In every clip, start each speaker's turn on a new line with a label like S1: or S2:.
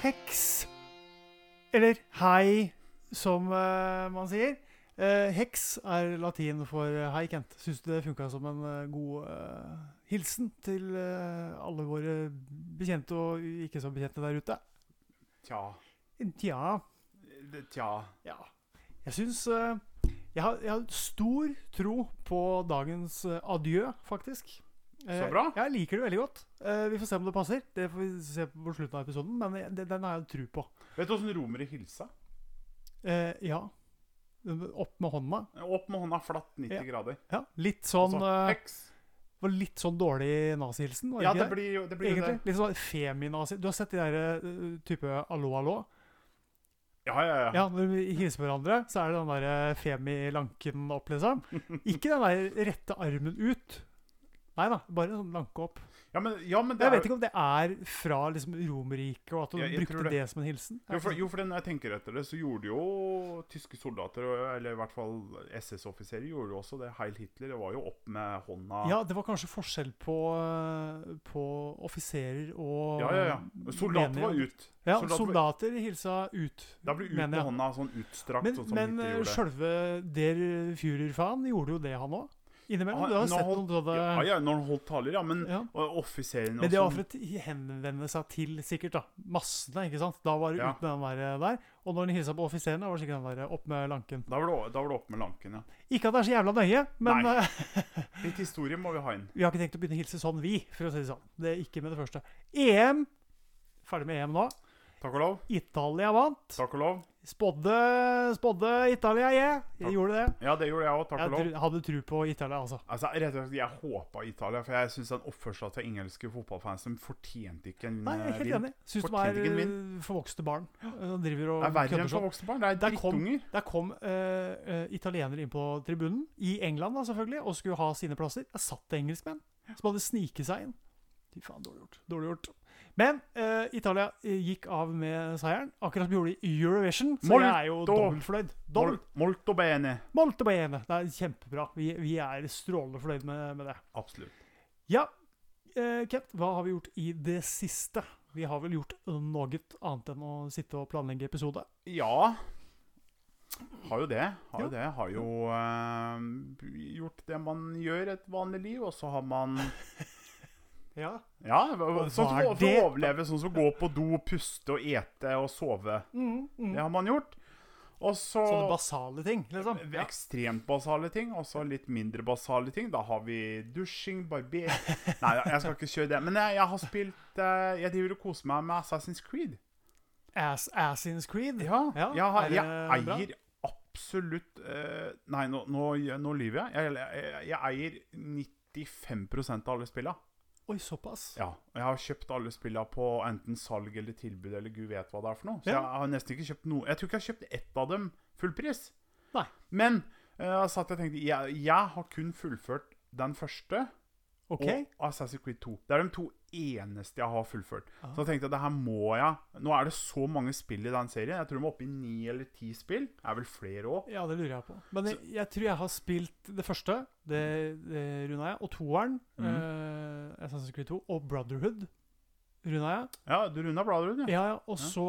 S1: heks. Eller hei, som eh, man sier. Eh, heks er latin for eh, hei, Kent. Syns du det funka som en eh, god eh, hilsen til eh, alle våre bekjente og ikke så bekjente der ute?
S2: Tja.
S1: Tja.
S2: Det- Tja.
S1: Ja. Jeg syns eh, jeg, har, jeg har stor tro på dagens eh, adjø, faktisk. Eh,
S2: Så bra.
S1: Jeg liker det veldig godt. Eh, vi får se om det passer. Det får vi se på slutten av episoden, men jeg- det, den har jeg tro på.
S2: Vet du åssen romere hilsa?
S1: Eh, ja. Opp med hånda.
S2: Opp med hånda flatt 90
S1: Ja.
S2: grader.
S1: Ja. Litt sånn
S2: Altså,
S1: eh,
S2: heks.
S1: var Litt sånn dårlig nazihilsen, var
S2: Ja,
S1: ikke
S2: det blir jo det. Blir jo
S1: Egentlig.
S2: det.
S1: Litt sånn feminazi. Du har sett de der eh, type allo, allo?
S2: Ja, ja, ja.
S1: Ja, når vi hilser på hverandre, så er det den der eh, femi-lanken opp, liksom. Ikke den der rette armen ut. Nei da, bare sånn lanke opp.
S2: Ja, men, ja, men det
S1: Jeg
S2: er
S1: vet ikke om det er fra liksom Romerriket, og at de
S2: Ja, jeg
S1: brukte
S2: tror
S1: det.
S2: det.
S1: som en hilsen.
S2: Jo, for, jo, for når jeg tenker etter det, så gjorde jo tyske soldater, og- eller i hvert fall SS-offiserer, gjorde jo også det. Heil Hitler det var jo opp med hånda.
S1: Ja, det var kanskje forskjell på, eh, på offiserer og
S2: ja, ja. ja. Soldater
S1: menige.
S2: var ut.
S1: Ja,
S2: Soldater var-
S1: soldater hilsa ut,
S2: Da ble ut
S1: mener
S2: med
S1: jeg.
S2: hånda sånn utstrakt,
S1: Men,
S2: sånn som
S1: men
S2: Hitler
S1: eh,
S2: gjorde.
S1: sjølve der Führerfaen gjorde jo det, han òg. Innimellom.
S2: Han-
S1: Du har
S2: Ah, nå
S1: sett noen
S2: holdt-
S1: sånne
S2: Ja, ja, når han holdt taler, ja. Men
S1: Ja.
S2: og offiserene
S1: Men det var
S2: også-
S1: for å henvende seg til sikkert da, massene, ikke sant? Da var det
S2: Ja.
S1: ut med den der, eh, der. Og når de hilsa på offiserene, var det sikkert den der eh, opp med lanken.
S2: da, var det, da var det opp med lanken, ja.
S1: Ikke at det er så jævla nøye, men
S2: Nei.
S1: eh,
S2: Litt historie må vi ha inn.
S1: vi har ikke tenkt å begynne å hilse sånn, vi. for å si Det sånn. Det er ikke med det første. EM. Ferdig med EM nå.
S2: Takk og lov.
S1: Italia vant.
S2: Takk og lov.
S1: Spådde, spådde Italia, jeg.
S2: Takk.
S1: Jeg gjorde det.
S2: Ja, det gjorde jeg òg. Takk og
S1: Jeg
S2: lov.
S1: tru, hadde tru på Italia, altså.
S2: Altså, rett og slett, Jeg håpa Italia, for jeg syns den oppførselen til engelske fotballfansen fortjente ikke en
S1: Nei, jeg er
S2: eh,
S1: helt
S2: vinn.
S1: enig. Syns det
S2: Fortjente
S1: var
S2: ikke en
S1: eh, forvokste barn. som driver og
S2: Det er verre
S1: kødder
S2: enn
S1: sånn.
S2: for voksne barn. Det er
S1: Der kom-
S2: drittunger.
S1: Der kom eh, eh, italienere inn på tribunen, i England da selvfølgelig, og skulle ha sine plasser. Der satt det engelskmenn som hadde sniket seg inn. Fy faen, dårlig gjort. Dårlig gjort. Men eh, Italia eh, gikk av med seieren, akkurat som de gjorde i Eurovision. Så
S2: Molto.
S1: jeg er jo dobbelt fornøyd.
S2: Mol
S1: Dobbelt.
S2: molto bene.
S1: Molto bene. Det er kjempebra. Vi, vi er strålende fornøyd med, med det.
S2: Absolutt.
S1: Ja, eh, Kent, hva har vi gjort i det siste? Vi har vel gjort noe annet enn å sitte og planlegge episode.
S2: Ja. Har jo det. Har
S1: Ja.
S2: jo det. Har jo eh, gjort det man gjør i et vanlig liv, og så har man
S1: Ja.
S2: Ja, sånn som
S1: hva er
S2: å for
S1: det?
S2: å overleve. Sånn som å gå på do, puste og ete og sove.
S1: Mm, mm.
S2: Det har man gjort. Og så
S1: Sånne basale ting, liksom.
S2: Ve- ekstremt basale ting, og så litt mindre basale ting. Da har vi dusjing, barber Nei, jeg skal ikke kjøre det. Men jeg, jeg har spilt eh, Jeg driver og koser meg med Assassin's Creed.
S1: Ass, Assassin's Creed? Ja,
S2: jeg, har,
S1: er det
S2: jeg
S1: bra?
S2: eier absolutt eh, Nei, nå, nå, nå lyver jeg. Jeg, jeg. jeg eier 95 av alle spilla.
S1: Oi, såpass.
S2: Ja, og jeg har kjøpt alle spilla på enten salg eller tilbud eller gud vet hva det er for noe. Så
S1: Ja.
S2: jeg har nesten ikke kjøpt noe. Jeg tror ikke jeg har kjøpt ett av dem full pris.
S1: Nei.
S2: Men eh, jeg satt og tenkte jeg, jeg har kun fullført den første
S1: Ok.
S2: og Assassin's Creed 2. Det er de to eneste jeg har fullført.
S1: Ah.
S2: Så jeg tenkte at det her må jeg Nå er det så mange spill i den serien. Jeg tror de er oppe i ni eller ti spill. Det er vel flere òg.
S1: Ja, det lurer jeg på. Men jeg, jeg tror jeg har spilt det første, det, det runda jeg, og toeren,
S2: Mhm.
S1: eh, Assassin's Creed 2, og Brotherhood runda jeg.
S2: Ja, du runda bladet, du.
S1: Ja, ja, og
S2: Ja.
S1: så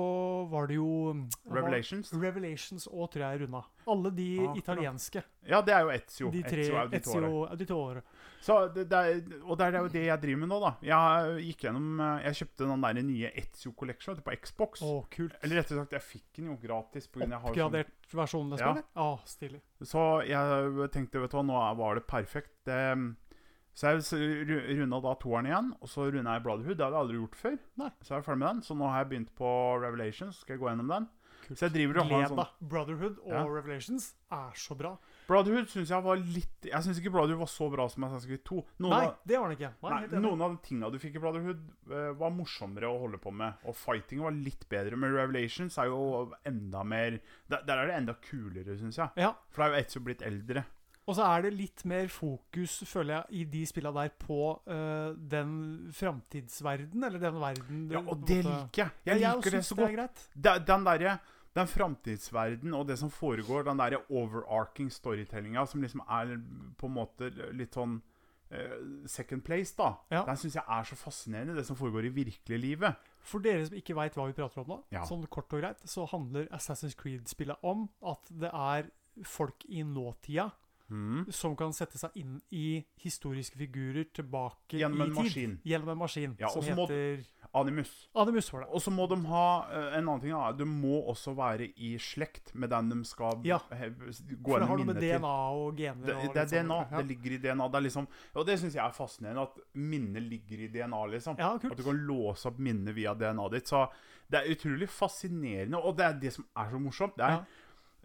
S1: var det jo mm, hva-
S2: Revelations. Ah,
S1: Revelations og tror jeg runda. Alle de
S2: Akkurat.
S1: italienske.
S2: Ja, det er jo Ezio.
S1: de tre
S2: Ezio Auditore.
S1: Ezio Auditore.
S2: Så det, det er, og det er jo det jeg driver med nå, da. Jeg gikk gjennom eh, Jeg kjøpte den der nye Ezio Collection vet du, på Xbox.
S1: Å, kult.
S2: Eller rettere sagt, jeg fikk den jo gratis. På grunn av jeg har jo sånn-
S1: Oppgradert versjon,
S2: Ja.
S1: nesten? Ja. Ah, stilig.
S2: så jeg tenkte, vet du hva, nå er- var det perfekt. Det, så jeg så ru- runda da toeren igjen, og så runda jeg Brotherhood. Det hadde jeg aldri gjort før.
S1: Nei.
S2: Så jeg er ferdig med den. Så nå har jeg begynt på Revelation. Så skal jeg gå gjennom den.
S1: Kult.
S2: Så jeg driver og har en
S1: Gled
S2: sånn
S1: deg. Brotherhood og
S2: Ja.
S1: Revelations er så bra.
S2: Brotherhood syns jeg var litt Jeg syns ikke Brotherhood var så bra som Assassin's Creed 2. Noen
S1: Nei,
S2: av-
S1: det var det ikke. Nei,
S2: Nei,
S1: helt enig.
S2: noen av de tinga du fikk i Brotherhood, eh, var morsommere å holde på med. Og fighting var litt bedre, men Revelations er jo enda mer Der, der er det enda kulere, syns jeg.
S1: Ja.
S2: For det er jo Ezio blitt eldre.
S1: Og så er det litt mer fokus, føler jeg, i de spilla der på øh, den framtidsverden, eller den verden du
S2: Ja, og
S1: på
S2: det
S1: en måte-
S2: liker jeg. Jeg
S1: Ja,
S2: liker det
S1: synes
S2: så
S1: er
S2: godt.
S1: greit.
S2: Den, den derre den framtidsverden og det som foregår, den derre overarching storytellinga som liksom er på en måte litt sånn eh, Second Place, da.
S1: Ja.
S2: Den syns jeg er så fascinerende, det som foregår i virkelig livet.
S1: For dere som ikke veit hva vi prater om nå,
S2: Ja.
S1: sånn kort og greit, så handler Assassin's Creed-spillet om at det er folk i nåtida
S2: Mhm.
S1: som kan sette seg inn i historiske figurer tilbake
S2: Gjennom
S1: i
S2: en
S1: tid.
S2: maskin.
S1: Gjennom en maskin.
S2: Ja,
S1: som
S2: og så må-
S1: heter
S2: Animus.
S1: Animus, var det.
S2: Og så må de ha eh, en annen ting. Da. De må også være i slekt med den de skal
S1: Ja.
S2: he- gå
S1: For det
S2: gjennom
S1: har noe
S2: minnet
S1: med
S2: til.
S1: DNA og gener
S2: Det,
S1: og
S2: det
S1: litt
S2: er
S1: sånn,
S2: DNA.
S1: Ja.
S2: Det ligger i DNA. Det er liksom, og det syns jeg er fascinerende, at minnet ligger i DNA, liksom.
S1: ja,
S2: At
S1: kult.
S2: du kan låse opp minnet via DNA-et ditt. Så det er utrolig fascinerende, og det er det som er så morsomt. Det er
S1: Ja.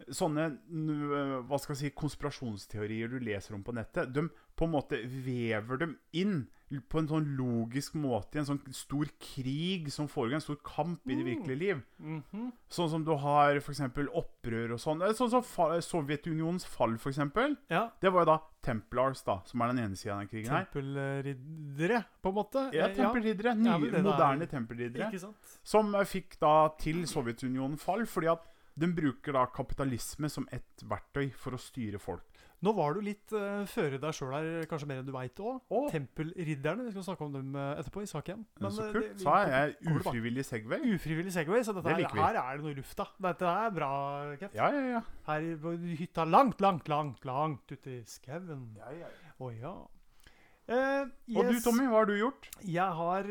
S2: sånne n- hva skal jeg si, konspirasjonsteorier du leser om på nettet. De på en måte vever dem inn på en sånn logisk måte i en sånn stor krig som foregår, en stor kamp i det
S1: Mm.
S2: virkelige liv.
S1: Mhm.
S2: Sånn som du har for eksempel opprør og sånn. Eller Sånn som fa Sovjetunionens fall, for eksempel.
S1: ja.
S2: Det var jo da Templars, da, som er den ene sida av den krigen her.
S1: Tempelriddere, på en måte.
S2: Ja,
S1: Eh,
S2: tempelriddere. Nye,
S1: Ja, men det der-
S2: moderne tempelriddere.
S1: Ikke sant?
S2: Som eh, fikk da til Sovjetunionen fall, fordi at de bruker da kapitalisme som et verktøy for å styre folk.
S1: Nå var du litt eh, føre deg sjøl her, kanskje mer enn du veit òg.
S2: Å,
S1: Tempelridderne. Vi skal snakke om dem eh, etterpå i sak igjen.
S2: så
S1: eh,
S2: kult.
S1: det- vi-
S2: Så er jeg
S1: kommer tilbake.
S2: ufrivillig segway.
S1: Ufrivillig segway, så dette
S2: Det
S1: her,
S2: liker vi.
S1: her er det noe i lufta. Dette er bra, Kent.
S2: Ja, ja, ja.
S1: Her i på hytta langt, langt, langt, langt ute i skauen. Å ja. Eh,
S2: Og du,
S1: yes.
S2: Tommy, hva har du gjort?
S1: Jeg har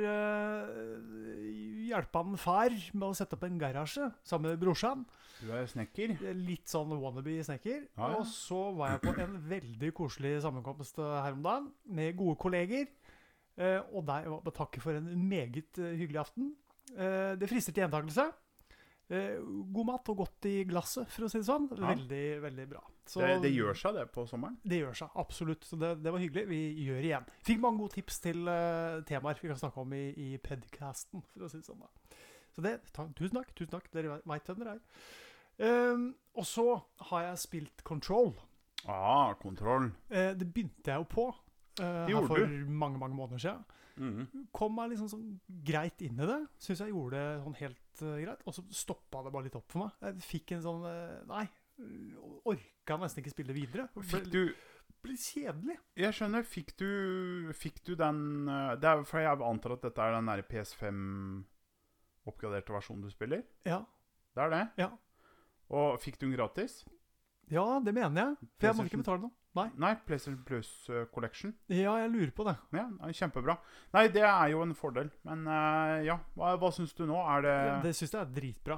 S1: uh, hjelpa en far med å sette opp en garasje sammen med brorsan.
S2: Du er snekker.
S1: Litt sånn wannabe snekker.
S2: Ja, ja.
S1: Og så var jeg på en veldig koselig sammenkomst eh, her om dagen med gode kolleger. Eh, og der var det takk for en meget eh, hyggelig aften. Eh, det frister til gjentakelse. Eh, god mat og godt i glasset, for å si det sånn.
S2: Ja.
S1: Veldig, veldig bra. Så
S2: Det, det gjør seg, det, på sommeren.
S1: det gjør seg, absolutt. Så det, det var hyggelig. Vi gjør igjen. Fikk mange gode tips til eh, temaer vi kan snakke om i, i podcasten, for å si det sånn. da. Så det, ta, tusen takk, tusen takk. Dere veit hvem dere er. Ehm, og så har jeg spilt Control.
S2: Ah, kontroll.
S1: Eh, det begynte jeg jo på eh, her
S2: gjorde
S1: for mange, mange måneder siden.
S2: Mhm.
S1: Kom meg liksom sånn greit inn i det. Syns jeg gjorde det sånn helt eh, greit. Og så stoppa det bare litt opp for meg. Jeg fikk en sånn eh, Nei. Orka nesten ikke spille videre.
S2: Fikk
S1: Ble,
S2: du
S1: ble kjedelig.
S2: Jeg skjønner. Fikk du, fikk du den eh, det er, For jeg antar at dette er den der PS5-oppgraderte versjonen du spiller?
S1: Ja.
S2: Det er det?
S1: Ja.
S2: Og fikk du den gratis?
S1: Ja, det mener jeg. For jeg måtte ikke
S2: PlayStation.
S1: betale noe.
S2: Nei, PlayStation Plus eh, Collection.
S1: Ja, jeg lurer på det.
S2: Ja, det er kjempebra. Nei, det er jo en fordel. Men eh, ja, hva, hva syns du nå? Er det,
S1: Ja,
S2: det
S1: Det syns jeg er dritbra.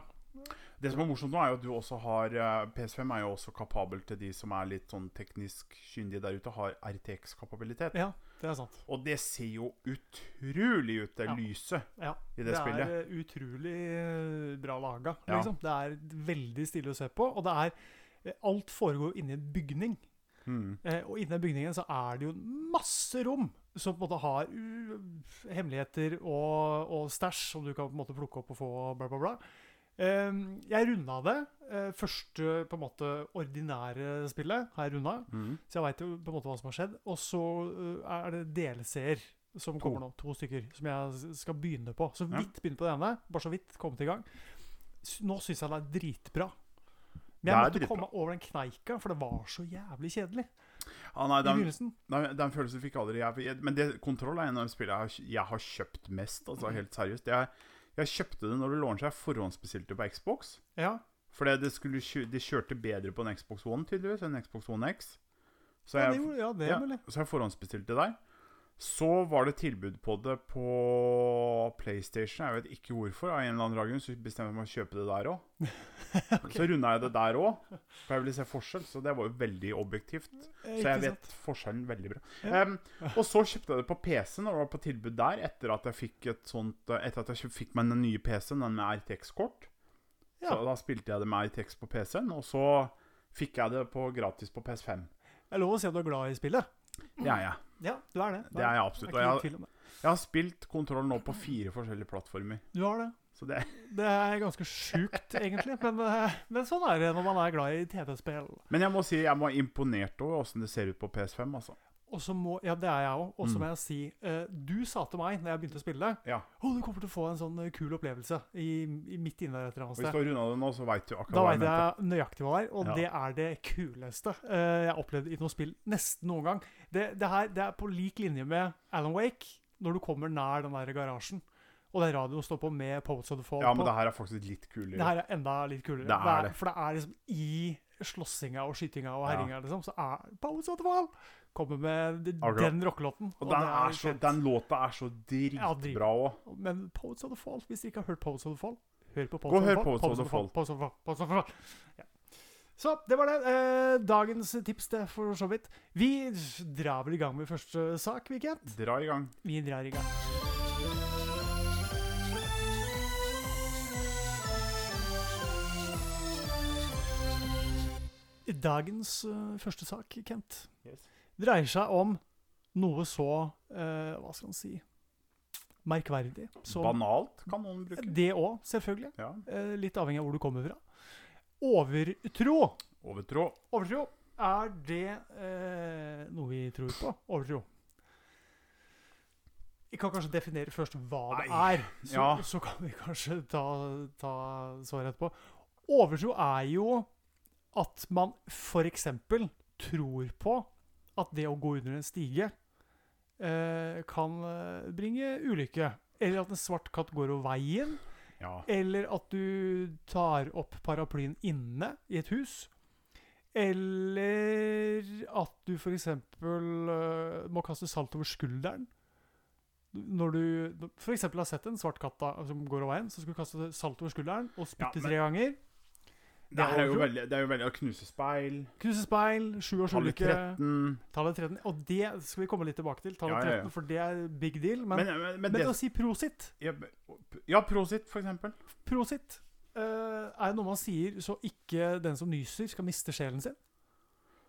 S2: som er morsomt nå, er jo at du også har eh, PS5 er jo også kapabel til de som er litt sånn teknisk kyndige der ute, har RTX-kapabilitet.
S1: Ja, det er sant.
S2: Og det ser jo utrolig ut, det
S1: Ja.
S2: lyset
S1: Ja.
S2: i det, spillet.
S1: er eh, utrolig eh, bra laga,
S2: Ja.
S1: liksom. Det er veldig stille å se på, og det er eh, Alt foregår inni en bygning,
S2: Mm.
S1: eh, og inni den bygningen så er det jo masse rom som på en måte har uh, hemmeligheter og, og stæsj som du kan på en måte plukke opp og få, bla, bla, bla. Eh, jeg runda det. eh, første på en måte ordinære spillet har jeg runda.
S2: Mm.
S1: Så jeg veit jo på en måte hva som har skjedd. Og så øh, er det DLC-er som
S2: To.
S1: kommer nå. To stykker som jeg s- skal begynne på. Så
S2: Ja.
S1: vidt begynne på det ene. Bare så vidt kommet i gang. S- Nå syns jeg det er dritbra. Men
S2: Det
S1: jeg
S2: er
S1: måtte
S2: dritbra.
S1: komme meg over den kneika, for det var så jævlig kjedelig
S2: Ah, nei,
S1: i
S2: den,
S1: begynnelsen.
S2: den, den følelsen fikk aldri jeg. jeg- Men det, kontroll er en av de spillene jeg, har- jeg har kjøpt mest, altså
S1: Mm.
S2: helt seriøst. Jeg, jeg kjøpte det når det lå seg forhåndsbestilte på Xbox.
S1: Ja.
S2: For det skulle kjø de kjørte bedre på en Xbox One, tydeligvis, enn Xbox One X. Så
S1: ja, det
S2: jeg,
S1: gjorde ja, det,
S2: ja.
S1: mulig.
S2: så jeg forhåndsbestilte der. Så var det tilbud på det på PlayStation. Jeg vet ikke hvorfor. Av en eller annen grunn så bestemte jeg meg for å kjøpe det der òg. Så runda jeg det der òg, for jeg ville se forskjell. Så det var jo veldig objektivt.
S1: Eh,
S2: Så jeg
S1: ikke sant?
S2: vet forskjellen veldig bra.
S1: Ja.
S2: Em, og så kjøpte jeg det på PC når det var på tilbud der, etter at jeg fikk et sånt Etter at jeg kjøp- fikk meg den nye PC-en, den med RTX-kort.
S1: Ja.
S2: Så da spilte jeg det med RTX på PC-en, og så fikk jeg det på gratis på PS5.
S1: Det er lov å si at du er glad i spillet.
S2: Det er jeg.
S1: Ja, du er det. Du
S2: Det er jeg absolutt.
S1: Det
S2: Og
S1: Mm. er ikke noe
S2: jeg,
S1: tvil om det.
S2: jeg har spilt kontroll nå på fire forskjellige plattformer.
S1: Du har det.
S2: Så det
S1: Det er ganske sjukt, egentlig. Men, eh, men sånn er det når man er glad i TV-spill.
S2: Men jeg må si jeg var imponert over åssen det ser ut på PS5, altså.
S1: Og så må Ja, det er jeg òg. Og så
S2: Mm.
S1: må jeg si eh, Du sa til meg når jeg begynte å spille
S2: Ja.
S1: Å, du kommer til å få en sånn eh, kul opplevelse i, i midt inne der et eller annet
S2: Hvis
S1: sted.
S2: du har runda det nå, så veit du akkurat
S1: Da
S2: hva jeg
S1: veit
S2: mente.
S1: jeg nøyaktig hva det er, og
S2: Ja.
S1: det er det kuleste eh, jeg har opplevd i noe spill nesten noen gang. Det, det her det er på lik linje med Alan Wake, når du kommer nær den der garasjen, og den radioen står på med Poets of the Fall
S2: Ja,
S1: på.
S2: men det her er faktisk litt kulere.
S1: Det her er enda litt kulere.
S2: Det er det.
S1: For det er liksom i slåssinga og skytinga og
S2: Ja.
S1: herjinga, liksom, så er Poets of the Fall kommer med de-
S2: Akkurat.
S1: den rockelåten.
S2: og den,
S1: det er
S2: er så,
S1: sant.
S2: den låta er så
S1: drit.
S2: dritbra òg.
S1: Men Poets of the Fall, hvis dere ikke har hørt Poets of the Fall, hør på
S2: Gå
S1: Poets of the
S2: hør
S1: Fall.
S2: Poets of the Fall.
S1: Poets of the Fall. Poets of the Fall. Ja. Så det var det. Eh, dagens tips, det, for så vidt. Vi drar vel i gang med første sak, vi, Kent?
S2: Dra i gang.
S1: Vi drar i gang. Dagens eh, første sak, Kent, dreier seg om noe så eh, Hva skal man si merkverdig som
S2: Banalt kan noen bruke.
S1: det òg, selvfølgelig.
S2: Ja.
S1: Eh, litt avhengig av hvor du kommer fra. Overtro.
S2: Overtrå.
S1: Overtro. Er det eh, noe vi tror på? Overtro. Vi kan kanskje definere først hva det
S2: Nei,
S1: er. Så,
S2: ja.
S1: så kan vi kanskje ta, ta svaret etterpå. Overtro er jo at man f.eks. tror på at det å gå under en stige eh, kan eh, bringe ulykke. Eller at en svart katt går over veien.
S2: Ja.
S1: Eller at du tar opp paraplyen inne i et hus. Eller at du f.eks. Uh, må kaste salt over skulderen. Når du f.eks. har sett en svart katt da, som går over veien, så skal du kaste salt over skulderen og spytte
S2: Ja, men-
S1: tre ganger. Det
S2: Det
S1: er
S2: er jo
S1: overtro.
S2: veldig, det er jo veldig å knuse speil.
S1: Knuse speil, sju års
S2: Tallet
S1: ulykke.
S2: 13.
S1: Tallet 13. Og det skal vi komme litt tilbake til, tallet
S2: Ja, ja, ja.
S1: 13, for det er big deal. Men,
S2: Men,
S1: men, altså-
S2: men, men, det,
S1: å si prosit
S2: Ja, prosit, for eksempel.
S1: Prosit eh, er noe man sier så ikke den som nyser skal miste sjelen sin.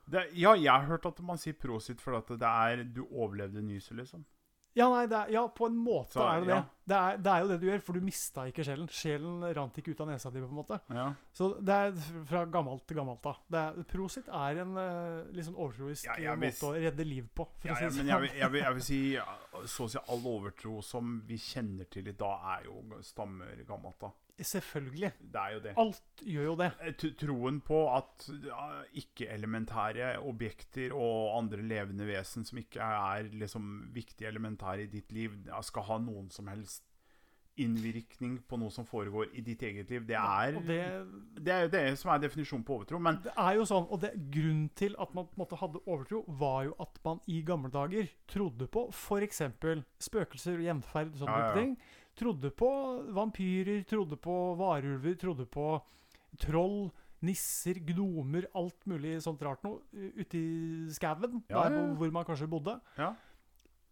S2: Det, ja, jeg har hørt at man sier prosit fordi at det er du overlevde nyset, liksom.
S1: Ja, nei, det er, ja på en måte
S2: Så,
S1: er det det.
S2: ja.
S1: Det, er, det er jo det du gjør, for du mista ikke sjelen. Sjelen rant ikke ut av nesa di, på en måte.
S2: Ja.
S1: Så det er fra gammelt til gammelt, da. Det er, prosit er en eh, litt sånn overtroisk
S2: Ja, jeg
S1: eh,
S2: vil
S1: måte å redde liv på, for å
S2: Ja,
S1: si
S2: ja,
S1: det
S2: men
S1: sånn.
S2: jeg vil, jeg, vil, jeg vil si ja, så å si all overtro som vi kjenner til i dag, er jo stammer gammelt, da.
S1: Selvfølgelig.
S2: Det er jo det.
S1: Alt gjør jo det.
S2: Eh, t- Troen på at ja, ikke-elementære objekter og andre levende vesen som ikke er liksom viktige elementære i ditt liv, ja, skal ha noen som helst innvirkning på noe som foregår i ditt eget liv, det er
S1: Og det,
S2: Det er jo det som er definisjonen på overtro, men
S1: det er jo sånn. Og det, grunnen til at man på en måte hadde overtro, var jo at man i gamle dager trodde på f.eks. spøkelser og gjenferd og sånne
S2: Ja, ja, ja.
S1: ting. Trodde på vampyrer, trodde på varulver, trodde på troll, nisser, gnomer, alt mulig sånt rart noe u- ute i skauen,
S2: Ja,
S1: der
S2: ja, ja.
S1: hvor- hvor man kanskje bodde.
S2: Ja.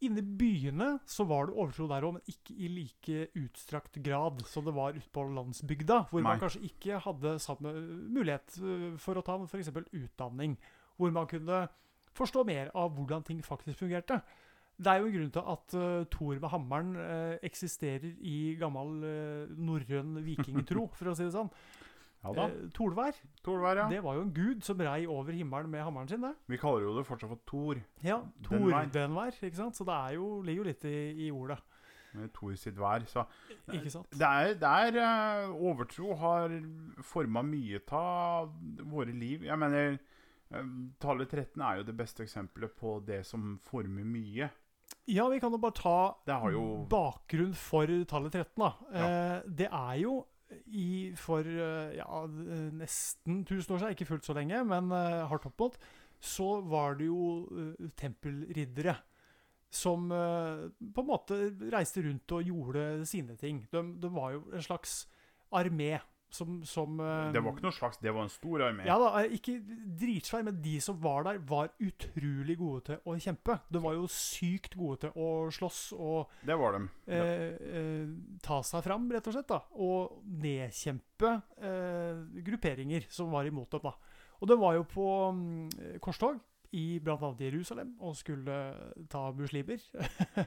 S1: Inne i byene så var det overtro der òg, men ikke i like utstrakt grad som det var ute på landsbygda, hvor man
S2: Nei.
S1: kanskje ikke hadde samme mulighet øh, for å ta f.eks. utdanning, hvor man kunne forstå mer av hvordan ting faktisk fungerte. Det er jo en grunn til at uh, Thor med hammeren eh, eksisterer i gammel uh, norrøn vikingtro, for å si det sånn.
S2: ja da.
S1: Uh, Torvær,
S2: Thorvær, ja.
S1: det var jo en gud som rei over himmelen med hammeren sin, det.
S2: Vi kaller jo det fortsatt for Thor.
S1: Ja,
S2: Den vær.
S1: Tordenvær, ikke sant? Så det er jo, ligger jo litt i, i ordet,
S2: Med Thor sitt vær. Så
S1: ikke sant?
S2: det er, det er eh, Overtro har forma mye av våre liv. Jeg mener eh, Tallet 13 er jo det beste eksempelet på det som former mye.
S1: Ja, vi kan jo bare ta
S2: Det har jo
S1: bakgrunn for tallet 13, da. Eh, det er jo i, for eh, ja, eh, nesten 1000 år siden, ikke fullt så lenge, men eh, hardt opp mot, så var det jo eh, tempelriddere som eh, på en måte reiste rundt og gjorde sine ting. De, de var jo en slags armé som, som eh,
S2: Det var ikke noe slags Det var en stor armé.
S1: ja da, eh, ikke dritsvær, men de som var der, var utrolig gode til å kjempe. De var jo sykt gode til å slåss og
S2: Det var dem.
S1: eh, eh, ta seg fram, rett og slett, da, og nedkjempe eh, grupperinger som var imot dem. da. Og det var jo på mm, korstog i bl.a. Jerusalem og skulle ta muslimer.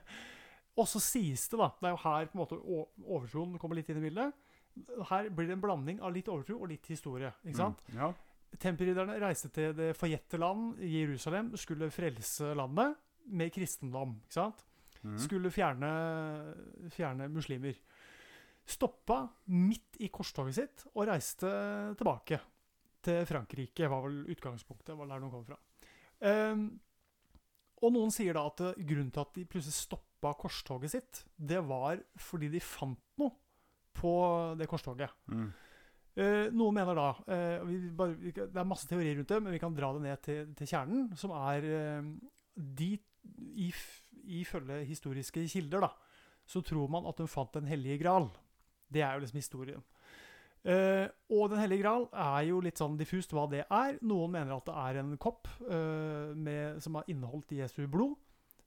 S1: og så sies det, da Det er jo her på en måte o- overtroen kommer litt inn i bildet. Her blir det en blanding av litt overtro og litt historie. ikke sant?
S2: Mm. Ja.
S1: Tempelridderne reiste til det forjette land, Jerusalem, skulle frelse landet. med kristendom, ikke sant?
S2: Mm.
S1: Skulle fjerne, fjerne muslimer. Stoppa midt i korstoget sitt og reiste tilbake til Frankrike, var vel utgangspunktet. var der de kom fra. Ehm, og noen sier da at eh, grunnen til at de plutselig stoppa korstoget sitt, det var fordi de fant noe på det korstoget.
S2: Mm.
S1: Eh, noen mener da eh, vi bare, vi, kan- Det er masse teorier rundt det, men vi kan dra det ned til, til kjernen, som er eh, de, i, f- Ifølge historiske kilder da, så tror man at hun fant Den hellige gral. Det er jo liksom historien. Eh, og Den hellige gral er jo litt sånn diffust hva det er. Noen mener at det er en kopp eh, med, som har inneholdt Jesu blod.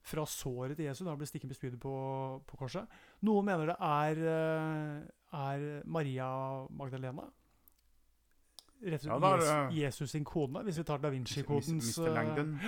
S1: Fra såret til Jesu da han ble stikket med spydet på, på korset. Noen mener det er, eh, er Maria Magdalena. Rett og
S2: Ja,
S1: slett
S2: da er
S1: Jes-
S2: det-
S1: Jesus sin kone, hvis vi tar Da Vinci-kodens
S2: Mr. Langdon.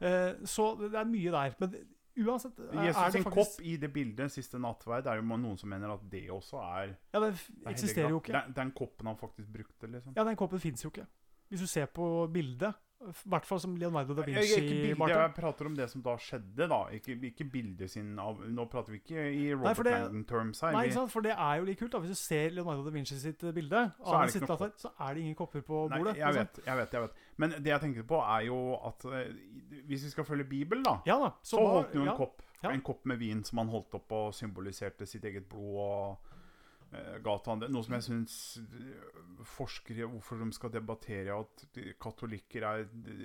S1: eh, Så det er mye der. Men det- uansett er- er
S2: Jesus
S1: det
S2: sin
S1: faktisk
S2: kopp i det bildet siste nattverd, det er jo noen som mener at det også er
S1: Ja, det f-
S2: det er
S1: eksisterer jo
S2: hellig,
S1: ikke.
S2: da. Den, den koppen han faktisk brukte, liksom.
S1: Ja, den koppen fins jo ikke. Hvis du ser på bildet, i hvert fall som Leonardo da
S2: Jeg, jeg, Eh, ikke
S1: Vinci
S2: bildet,
S1: malte
S2: jeg prater om det som da skjedde, da. Ikke, ikke bildet sin av Nå prater vi ikke i
S1: for
S2: Robert
S1: det-
S2: Langdon-terms her.
S1: Nei,
S2: vi-
S1: ikke sant? For det er jo litt kult. da. Hvis du ser Leonardo da Vinci sitt eh, bilde, så
S2: er
S1: er,
S2: det ikke
S1: sitt
S2: noe
S1: datter, så er det ingen kopper på
S2: Nei,
S1: bordet.
S2: jeg
S1: ikke sant?
S2: vet, jeg vet, jeg vet. Men det jeg tenkte på, er jo at eh, hvis vi skal følge Bibelen, da,
S1: Ja da.
S2: så,
S1: var-
S2: holdt han jo en
S1: ja.
S2: kopp.
S1: ja.
S2: En kopp med vin som han holdt opp og symboliserte sitt eget blod og eh, ga til andre. Noe som jeg syns eh, forskere Hvorfor de skal debattere at de- katolikker er eh,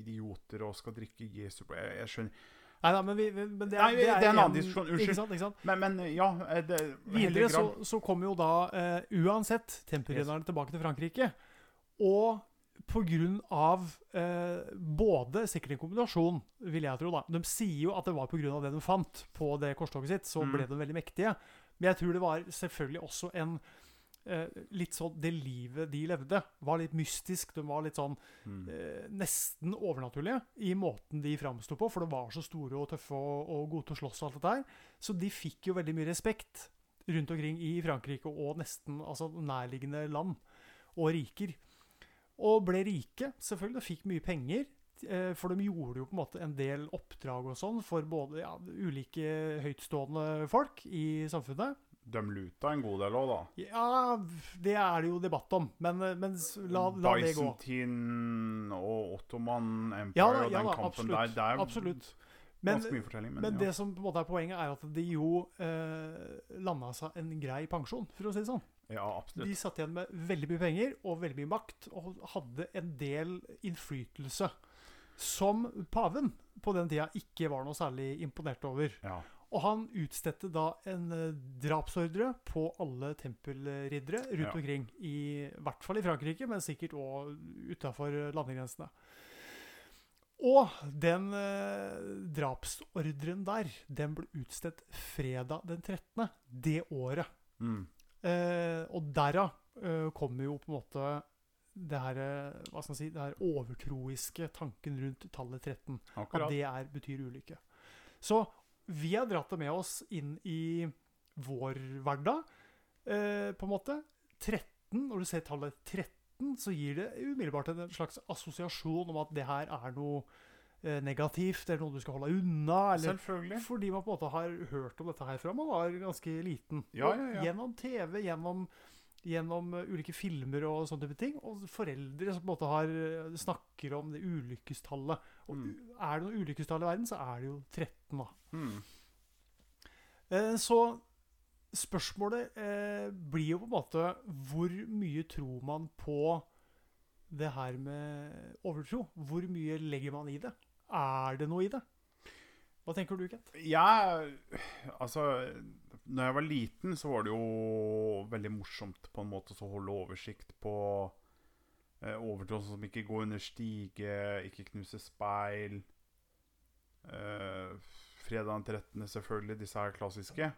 S2: idioter og skal drikke Jesu blod Jeg, jeg skjønner
S1: Nei, nei, men, vi, vi- men det, er,
S2: Nei, det er en annen diskusjon,
S1: Ikke
S2: unnskyld.
S1: sant, ikke sant?
S2: Men, men ja eh, det,
S1: Videre
S2: Hellig
S1: så,
S2: Grav-
S1: så kommer jo da eh, uansett tempelridderne tilbake til Frankrike. Og på grunn av eh, både sikkert en kombinasjon, vil jeg tro, da. De sier jo at det var på grunn av det de fant på det korstoget sitt, så
S2: Mm.
S1: ble de veldig mektige. Men jeg tror det var selvfølgelig også en eh, Litt sånn Det livet de levde, var litt mystisk. De var litt sånn
S2: Mm.
S1: eh, nesten overnaturlige i måten de framsto på, for de var så store og tøffe og, og gode til å slåss og alt dette her. Så de fikk jo veldig mye respekt rundt omkring i Frankrike og nesten altså nærliggende land og riker. Og ble rike, selvfølgelig, og fikk mye penger. eh, For de gjorde jo på en måte en del oppdrag og sånn for både ja, ulike høytstående folk i samfunnet.
S2: De luta en god del òg, da.
S1: Ja, det er det jo debatt om, men, eh, men s- la, la det gå.
S2: Byzantine og Ottoman Empire
S1: Ja da,
S2: og
S1: ja
S2: den
S1: da,
S2: kampen
S1: absolutt,
S2: der. Det er
S1: absolutt. Men,
S2: ganske mye fortelling, men,
S1: men
S2: ja.
S1: det som på en måte er poenget, er at de jo eh, landa seg en grei pensjon, for å si det sånn.
S2: ja, absolutt.
S1: De satt igjen med veldig mye penger og veldig mye makt, og hadde en del innflytelse. Som paven på den tida ikke var noe særlig imponert over.
S2: Ja.
S1: Og han utstedte da en eh, drapsordre på alle tempelriddere rundt
S2: Ja.
S1: omkring. I, I hvert fall i Frankrike, men sikkert òg utafor landegrensene. Og den eh, drapsordren der, den ble utstedt fredag den 13. det året.
S2: Mm.
S1: Eh, og derav eh, kommer jo på en måte det her, eh, hva skal man si, det her overtroiske tanken rundt tallet 13. At
S2: Akkurat.
S1: det er, betyr ulykke. Så vi har dratt det med oss inn i vår hverdag, eh, på en måte. 13, Når du ser tallet 13, så gir det umiddelbart en slags assosiasjon om at det her er noe eh, negativt, eller noe du skal holde unna. Eller,
S2: Selvfølgelig.
S1: fordi man på en måte har hørt om dette her fra man var ganske liten.
S2: Ja,
S1: Og
S2: ja, ja.
S1: Gjennom TV, gjennom, gjennom eh, ulike filmer og sånne type ting. Og foreldre som på en måte har, eh, snakker om det ulykkestallet. Og
S2: Mm.
S1: u- er det noe ulykkestall i verden, så er det jo 13, da.
S2: Mm.
S1: Eh, så spørsmålet eh, blir jo på en måte hvor mye tror man på det her med overtro? Hvor mye legger man i det? Er det noe i det? Hva tenker du, Kent?
S2: Jeg Altså, når jeg var liten, så var det jo veldig morsomt på en måte å holde oversikt på eh, overtro, sånn som ikke gå under stige, ikke knuse speil. Eh, fredag den 13., selvfølgelig, disse her klassiske.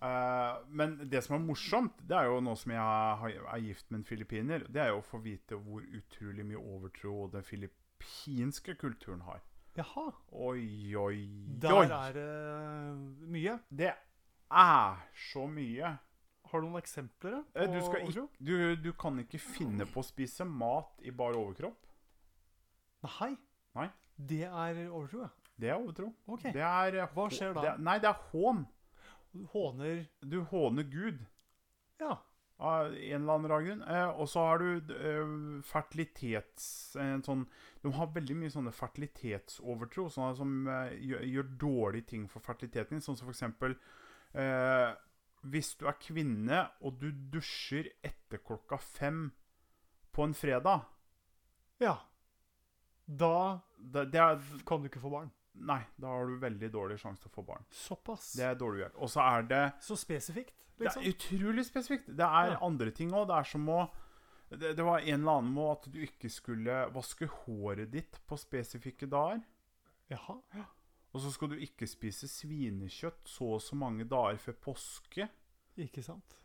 S2: Eh, men det som er morsomt, det er jo nå som jeg har- er gift med en filippiner, det er jo å få vite hvor utrolig mye overtro den filippinske kulturen har.
S1: Jaha.
S2: Oi, oi,
S1: Der
S2: oi!
S1: er det mye.
S2: Det er så mye.
S1: Har du noen eksempler? da,
S2: Eh,
S1: på
S2: Du, skal
S1: overtro?
S2: ikke, du, du kan ikke finne på å spise mat i bar overkropp.
S1: Nei.
S2: Nei.
S1: Det er overtro, ja.
S2: Det er overtro.
S1: Ok.
S2: Det er eh,
S1: Hva
S2: hå-
S1: skjer da?
S2: Det er, nei, det er hån.
S1: Du håner
S2: Du håner Gud
S1: Ja.
S2: av en eller annen rar grunn. Eh, og så har du eh, fertilitets... En sånn, de har veldig mye sånne fertilitetsovertro sånne som eh, gjør, gjør dårlige ting for fertiliteten din. Sånn som for eksempel eh, Hvis du er kvinne og du dusjer etter klokka fem på en fredag
S1: ja. Da
S2: det, det er,
S1: kan du ikke få barn.
S2: Nei, da har du veldig dårlig sjanse til å få barn.
S1: Såpass.
S2: Det er dårlig uhell. Og så er det
S1: Så spesifikt,
S2: Det
S1: liksom.
S2: er utrolig spesifikt. Det er
S1: Ja.
S2: andre ting òg. Det er som å det, det var en eller annen med at du ikke skulle vaske håret ditt på spesifikke dager.
S1: Jaha.
S2: Og så skal du ikke spise svinekjøtt så og så mange dager før påske.
S1: Ikke sant.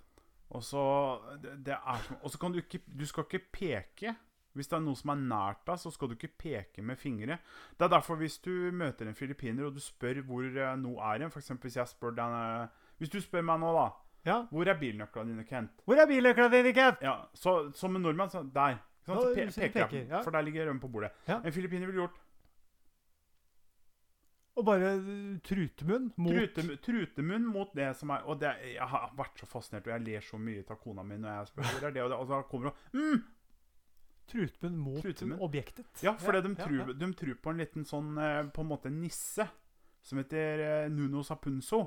S2: Og så det, det er som, og så kan du ikke Du skal ikke peke. Hvis det er noe som er nært deg, så skal du ikke peke med fingre. Det er derfor hvis du møter en filippiner og du spør hvor eh, noe er hen, f.eks. hvis jeg spør deg eh, Hvis du spør meg nå, da
S1: Ja.
S2: Hvor er bilnøklene dine, Kent?
S1: Hvor er bilnøkkelen din, Kent?
S2: Ja, så som en nordmann, så der. Ikke sant?
S1: Da
S2: Så pe
S1: husker du
S2: peker jeg,
S1: peker, ja.
S2: for der ligger rømmen på bordet.
S1: Ja.
S2: En filippiner ville gjort
S1: Og bare uh, trutemunn mot
S2: trutem trutemunn mot det som er Og det, jeg har vært så fascinert, og jeg ler så mye av kona mi når jeg spør hvor er det og det, og så kommer hun mm!
S1: Trutemunn mot
S2: Trutemunn.
S1: objektet.
S2: Ja, for det de,
S1: ja,
S2: tror,
S1: ja.
S2: de tror på en liten sånn eh, På en måte nisse som heter eh, Nuno Sapunzo.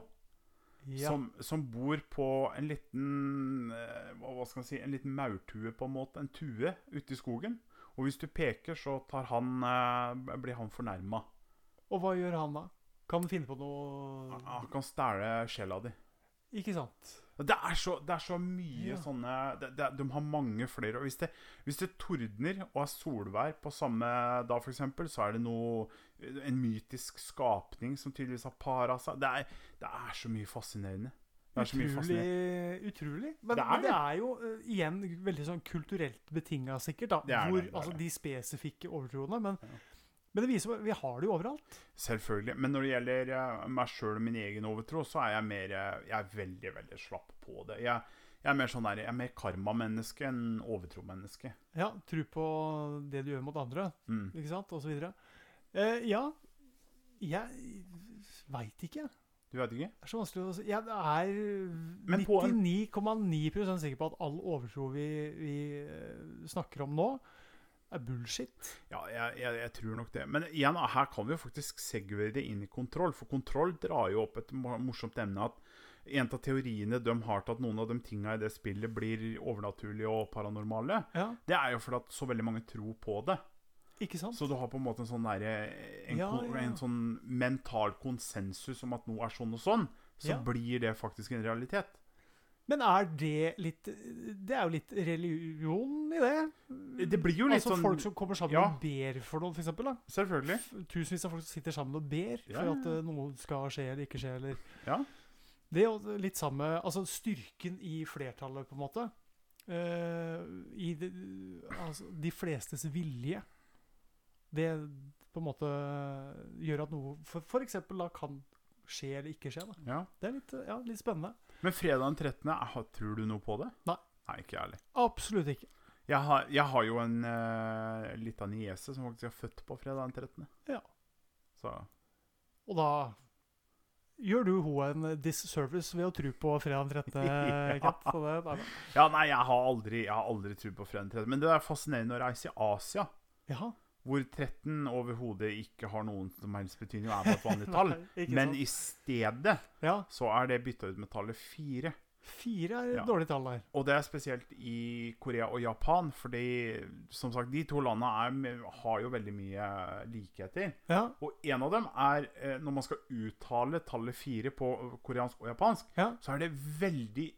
S1: Ja.
S2: Som, som bor på en liten eh, hva hva skal man si, en liten maurtue, på en måte. En tue ute i skogen. Og hvis du peker, så tar han, eh, blir han fornærma.
S1: Og hva gjør han da? Kan han finne på noe
S2: Han kan stjele sjela di.
S1: Ikke sant.
S2: Det er så, det er så mye
S1: Ja.
S2: sånne det, det, De har mange flere. Og hvis det, hvis det tordner og er solvær på samme dag, f.eks., så er det noe En mytisk skapning som tydeligvis har para seg. Det er, det er så mye fascinerende. Det er så mye
S1: Utrolig,
S2: fascinerende.
S1: utrolig. Men
S2: Det
S1: det er,
S2: er
S1: men det er jo eh, igjen veldig sånn kulturelt betinga, sikkert. da,
S2: Det er det,
S1: hvor,
S2: det er
S1: Altså
S2: det.
S1: de spesifikke overtroene. Men,
S2: Ja.
S1: men det viser bare vi har det jo overalt.
S2: Selvfølgelig. Men når det gjelder eh, meg sjøl og min egen overtro, så er jeg mer eh, Jeg er veldig, veldig slapp på det. Jeg, jeg er mer sånn der, jeg er mer karmamenneske enn overtromenneske.
S1: Ja, Tro på det du gjør mot andre,
S2: Mm.
S1: ikke sant, osv. Eh, ja, jeg veit ikke. jeg.
S2: Du veit ikke?
S1: Det er så vanskelig å si. Jeg er
S2: Men på en-
S1: 99,9 sikker på at all overtro vi, vi eh, snakker om nå, er bullshit.
S2: Ja, jeg, jeg, jeg tror nok det. Men igjen, her kan vi jo faktisk segvere det inn i kontroll. For kontroll drar jo opp et mo- morsomt emne at en av teoriene de har til at noen av de tinga i det spillet blir overnaturlige og paranormale,
S1: Ja,
S2: det er jo fordi at så veldig mange tror på det.
S1: Ikke sant?
S2: Så du har på en måte en sånn derre en,
S1: Ja,
S2: kon-
S1: ja.
S2: en sånn mental konsensus om at noe er sånn og sånn. Så
S1: Ja.
S2: blir det faktisk en realitet.
S1: Men er det litt Det er jo litt religion i det.
S2: Det blir jo litt
S1: altså
S2: sånn-
S1: Folk som kommer sammen
S2: ja.
S1: og ber for noe, for eksempel. Da.
S2: Selvfølgelig.
S1: Tusenvis av folk som sitter sammen og ber
S2: Ja,
S1: for
S2: ja,
S1: at
S2: ja.
S1: eh, noe skal skje eller ikke skje. Eller.
S2: Ja.
S1: Det er jo litt samme Altså styrken i flertallet, på en måte. Eh, I det, altså, de flestes vilje. Det på en måte gjør at noe for, for eksempel da kan skje eller ikke skje. Da.
S2: Ja.
S1: Det er litt, eh, ja, litt spennende.
S2: Men fredag den 13., ah, tror du noe på det?
S1: Nei.
S2: Nei, ikke jeg heller.
S1: Absolutt ikke.
S2: Jeg har, jeg har jo en uh, lita niese som faktisk er født på fredag den 13.
S1: Ja.
S2: Så
S1: Og da gjør du henne en disservice ved å tro på fredag den 13.
S2: Ja.
S1: Kent. Så det, det er bra.
S2: Ja, nei, jeg har aldri, jeg har aldri tro på fredag den 13. Men det er fascinerende å reise i Asia,
S1: Jaha.
S2: hvor 13 overhodet ikke har noen som helst betydning og er bare et vanlig tall.
S1: Nei, ikke
S2: Men
S1: sant.
S2: i stedet
S1: Ja,
S2: så er det bytta ut med tallet 4.
S1: fire er et
S2: Ja.
S1: dårlig tall der.
S2: Og det er spesielt i Korea og Japan, fordi som sagt, de to landa er, har jo veldig mye likheter.
S1: Ja,
S2: Og en av dem er eh, når man skal uttale tallet fire på koreansk og japansk,
S1: ja.
S2: så er det veldig,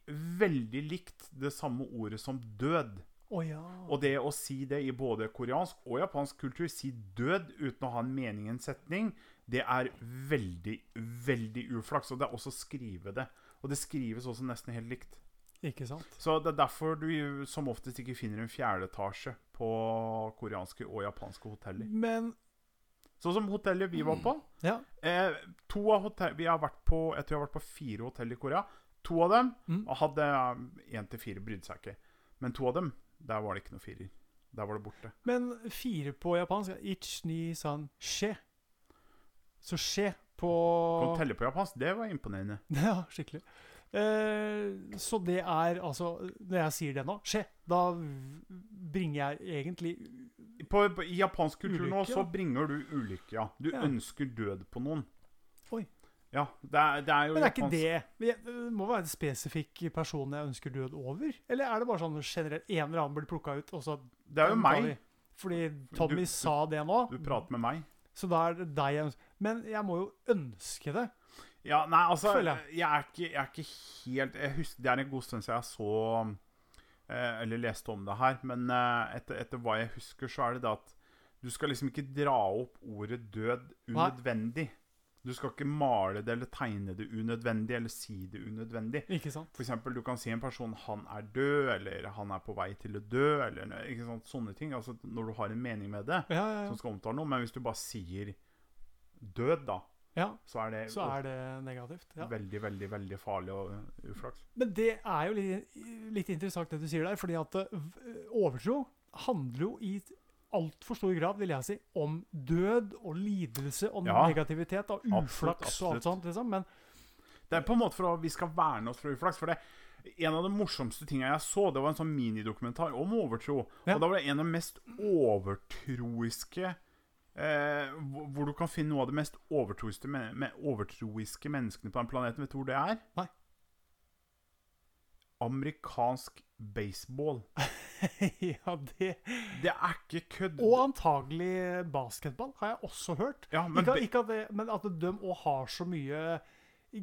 S2: veldig likt det samme ordet som død.
S1: Å ja.
S2: Og det å si det i både koreansk og japansk kultur, si død uten å ha en mening i en setning, det er veldig, veldig uflaks. Og det er også å skrive det. Og det skrives også nesten helt likt.
S1: Ikke sant.
S2: Så det er derfor du som oftest ikke finner en fjerde etasje på koreanske og japanske hoteller.
S1: Men
S2: Sånn som hotellet vi var på.
S1: Mm. Ja.
S2: Eh, to av hotell, vi har vært på, jeg tror jeg har vært på fire hotell i Korea. To av dem
S1: Mm.
S2: hadde én til fire brydde seg ikke. Men to av dem, der var det ikke noe firer. Der var det borte.
S1: Men fire på japansk er ich ni san she. Så she på
S2: Kan telle på japansk, det var imponerende.
S1: Ja, skikkelig. Eh, så det er altså Når jeg sier det nå, skje, da bringer jeg egentlig
S2: På, på, I japansk kultur nå
S1: Ulykke,
S2: så
S1: da.
S2: bringer du ulykke, ja. Du
S1: Ja.
S2: ønsker død på noen.
S1: Oi.
S2: Ja, det er, det er jo
S1: Men det er ikke
S2: japansk-
S1: det. Men jeg- Det må være en spesifikk person jeg ønsker død over? Eller er det bare sånn generelt en eller annen blir plukka ut, og så
S2: Det er jo
S1: den tar
S2: meg.
S1: vi? Fordi
S2: Du-
S1: Tommy
S2: du-
S1: sa det nå,
S2: Du prater med meg.
S1: så da er det deg jeg ønsker Men jeg må jo ønske det.
S2: Ja, nei, altså
S1: Føler
S2: jeg. er ikke, jeg er ikke helt jeg husker, Det er en god stund siden jeg så eh, Eller leste om det her. Men eh, etter, etter hva jeg husker, så er det det at du skal liksom ikke dra opp ordet død
S1: Nei.
S2: unødvendig. Du skal ikke male det eller tegne det unødvendig eller si det unødvendig.
S1: Ikke sant?
S2: For eksempel, du kan si en person 'han er død', eller 'han er på vei til å dø', eller noe- ikke sant, sånne ting. Altså når du har en mening med det
S1: Ja, ja, ja.
S2: som skal omtale noe. Men hvis du bare sier 'død', da,
S1: ja
S2: så er det
S1: så er det negativt. Ja.
S2: veldig, veldig veldig farlig og uh, uflaks.
S1: Men det er jo litt, litt interessant det du sier der, fordi at eh, v- overtro handler jo i altfor stor grad, vil jeg si, om død og lidelse og
S2: Ja.
S1: negativitet og
S2: Absolutt,
S1: uflaks og
S2: absolutt.
S1: alt sånt, liksom. Men
S2: Det er på en måte for at vi skal verne oss fra uflaks. For det, en av de morsomste tingene jeg så, det var en sånn minidokumentar om overtro.
S1: Ja.
S2: Og da var det en av de mest overtroiske eh, hvor- Hvor du kan finne noe av det mest overtroiske, men, med overtroiske menneskene på den planeten. Vet du hvor det er?
S1: Nei.
S2: Amerikansk baseball.
S1: ja, det
S2: Det er ikke kødd.
S1: Og antagelig basketball, har jeg også hørt.
S2: ja, men,
S1: ikke,
S2: ba-
S1: ikke at det, men at de òg har så mye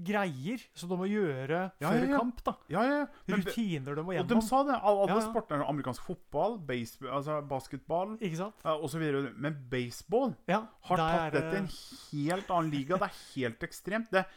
S1: greier som de må gjøre
S2: Ja,
S1: før
S2: ja, ja.
S1: kamp, da.
S2: ja, ja, ja. Men, ba-
S1: Rutiner de må
S2: og de
S1: gjennom.
S2: sa det. Alle, alle
S1: Ja, ja.
S2: sportene. Amerikansk fotball, baseball, altså basketball
S1: Ikke sant?
S2: eh, og så videre. Men baseball
S1: Ja,
S2: har
S1: der eh,
S2: tatt
S1: er
S2: dette i en helt annen liga. Det er helt ekstremt. Det,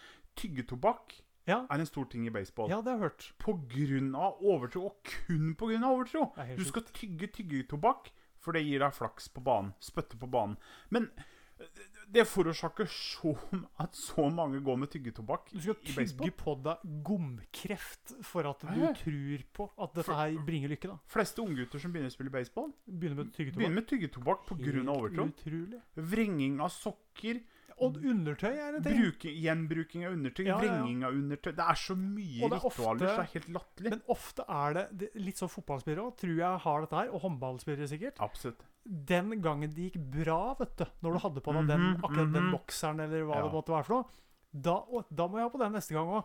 S2: tyggetobakk
S1: Ja,
S2: er en stor ting i baseball.
S1: ja, det har jeg hørt.
S2: På grunn av overtro, og kun på grunn av overtro.
S1: Det er helt
S2: Du skal tygge tyggetobakk, for det gir deg flaks på banen. Spytte på banen. Men eh, det forårsaker så, at så mange går med tyggetobakk
S1: Du skal
S2: i baseball.
S1: tygge på deg gomkreft for at du
S2: Ja, ja.
S1: tror på at dette
S2: For-
S1: her bringer lykke. da.
S2: fleste unggutter som begynner å spille baseball,
S1: Begynner med tyggetobakk.
S2: begynner med tyggetobakk på grunn av overtro.
S1: Utrolig.
S2: Vrenging av sokker,
S1: Og undertøy er en ting.
S2: bruke, gjenbruking av undertøy,
S1: Ja, ja, ja.
S2: vrenging av undertøy Det er så mye
S1: Og det er
S2: ritualer,
S1: ofte-
S2: så det er helt latterlig.
S1: Men ofte er det, det Litt sånn fotballspillere òg, tror jeg har dette her. Og håndballspillere sikkert.
S2: Absolutt.
S1: Den gangen det gikk bra, vet du, når du hadde på deg den,
S2: Mhm,
S1: akkurat den
S2: mhm.
S1: bokseren eller hva
S2: Ja.
S1: det måtte være for noe, da, og, da må jeg ha på den neste gang òg.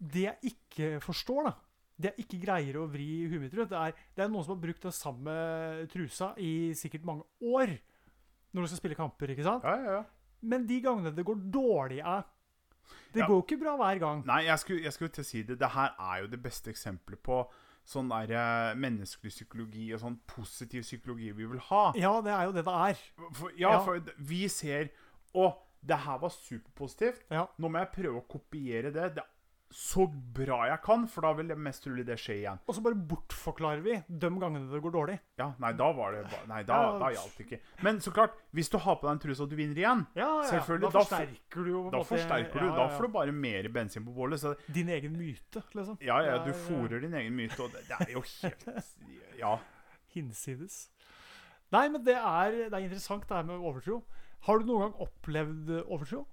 S1: Det jeg ikke forstår, da det jeg ikke greier å vri huet mitt rundt, det er, det er noen som har brukt den samme trusa i sikkert mange år når du skal spille kamper, ikke sant?
S2: Ja, ja, ja.
S1: Men de gangene det går dårlig av Det
S2: Ja.
S1: går jo ikke bra hver gang.
S2: Nei, jeg skulle, jeg skulle til å si det. Det her er jo det beste eksempelet på sånn der eh, menneskelig psykologi og sånn positiv psykologi vi vil ha.
S1: Ja, det er jo det det er.
S2: For, ja,
S1: Ja.
S2: for d- vi ser Å, det her var superpositivt.
S1: Ja.
S2: Nå må jeg prøve å kopiere det. det så bra jeg kan, for da vil det mest trolig det skje igjen.
S1: Og så bare bortforklarer vi de gangene det går dårlig.
S2: Ja, Nei, da var det ba- Nei, da,
S1: Ja.
S2: da gjaldt det ikke. Men så klart, hvis du har på deg en truse og du vinner igjen,
S1: Ja, ja, ja.
S2: Selvfølgelig,
S1: Da
S2: da
S1: forsterker du jo på en
S2: da
S1: måte-
S2: forsterker du.
S1: ja, ja,
S2: Da
S1: ja.
S2: får du bare mer bensin på bålet. Så
S1: Din egen myte, liksom.
S2: ja, ja,
S1: Det
S2: du
S1: er, eh,
S2: fòrer din egen myte, og det, det er jo helt Ja.
S1: Hinsides. Nei, men det er, det er interessant det her med overtro. Har du noen gang opplevd eh, overtro?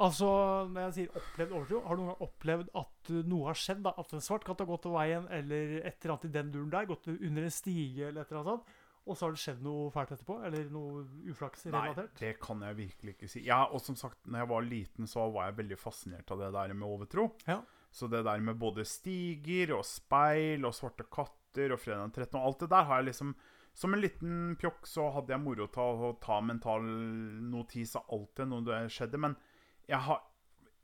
S1: Altså, når jeg sier opplevd overtro, har du noen gang opplevd at eh, noe har skjedd? da? At en svart katt har gått av veien, eller et eller annet i den duren der, gått under en stige, eller et eller annet sånt, og så har det skjedd noe fælt etterpå? Eller noe uflaks relatert?
S2: Nei, det kan jeg virkelig ikke si. Ja, og som sagt, når jeg var liten, så var jeg veldig fascinert av det der med overtro.
S1: Ja.
S2: Så det der med både stiger og speil og svarte katter og fredag den 13. og alt det der har jeg liksom Som en liten pjokk så hadde jeg moro til å ta mental notis av alt det når det skjedde, men jeg har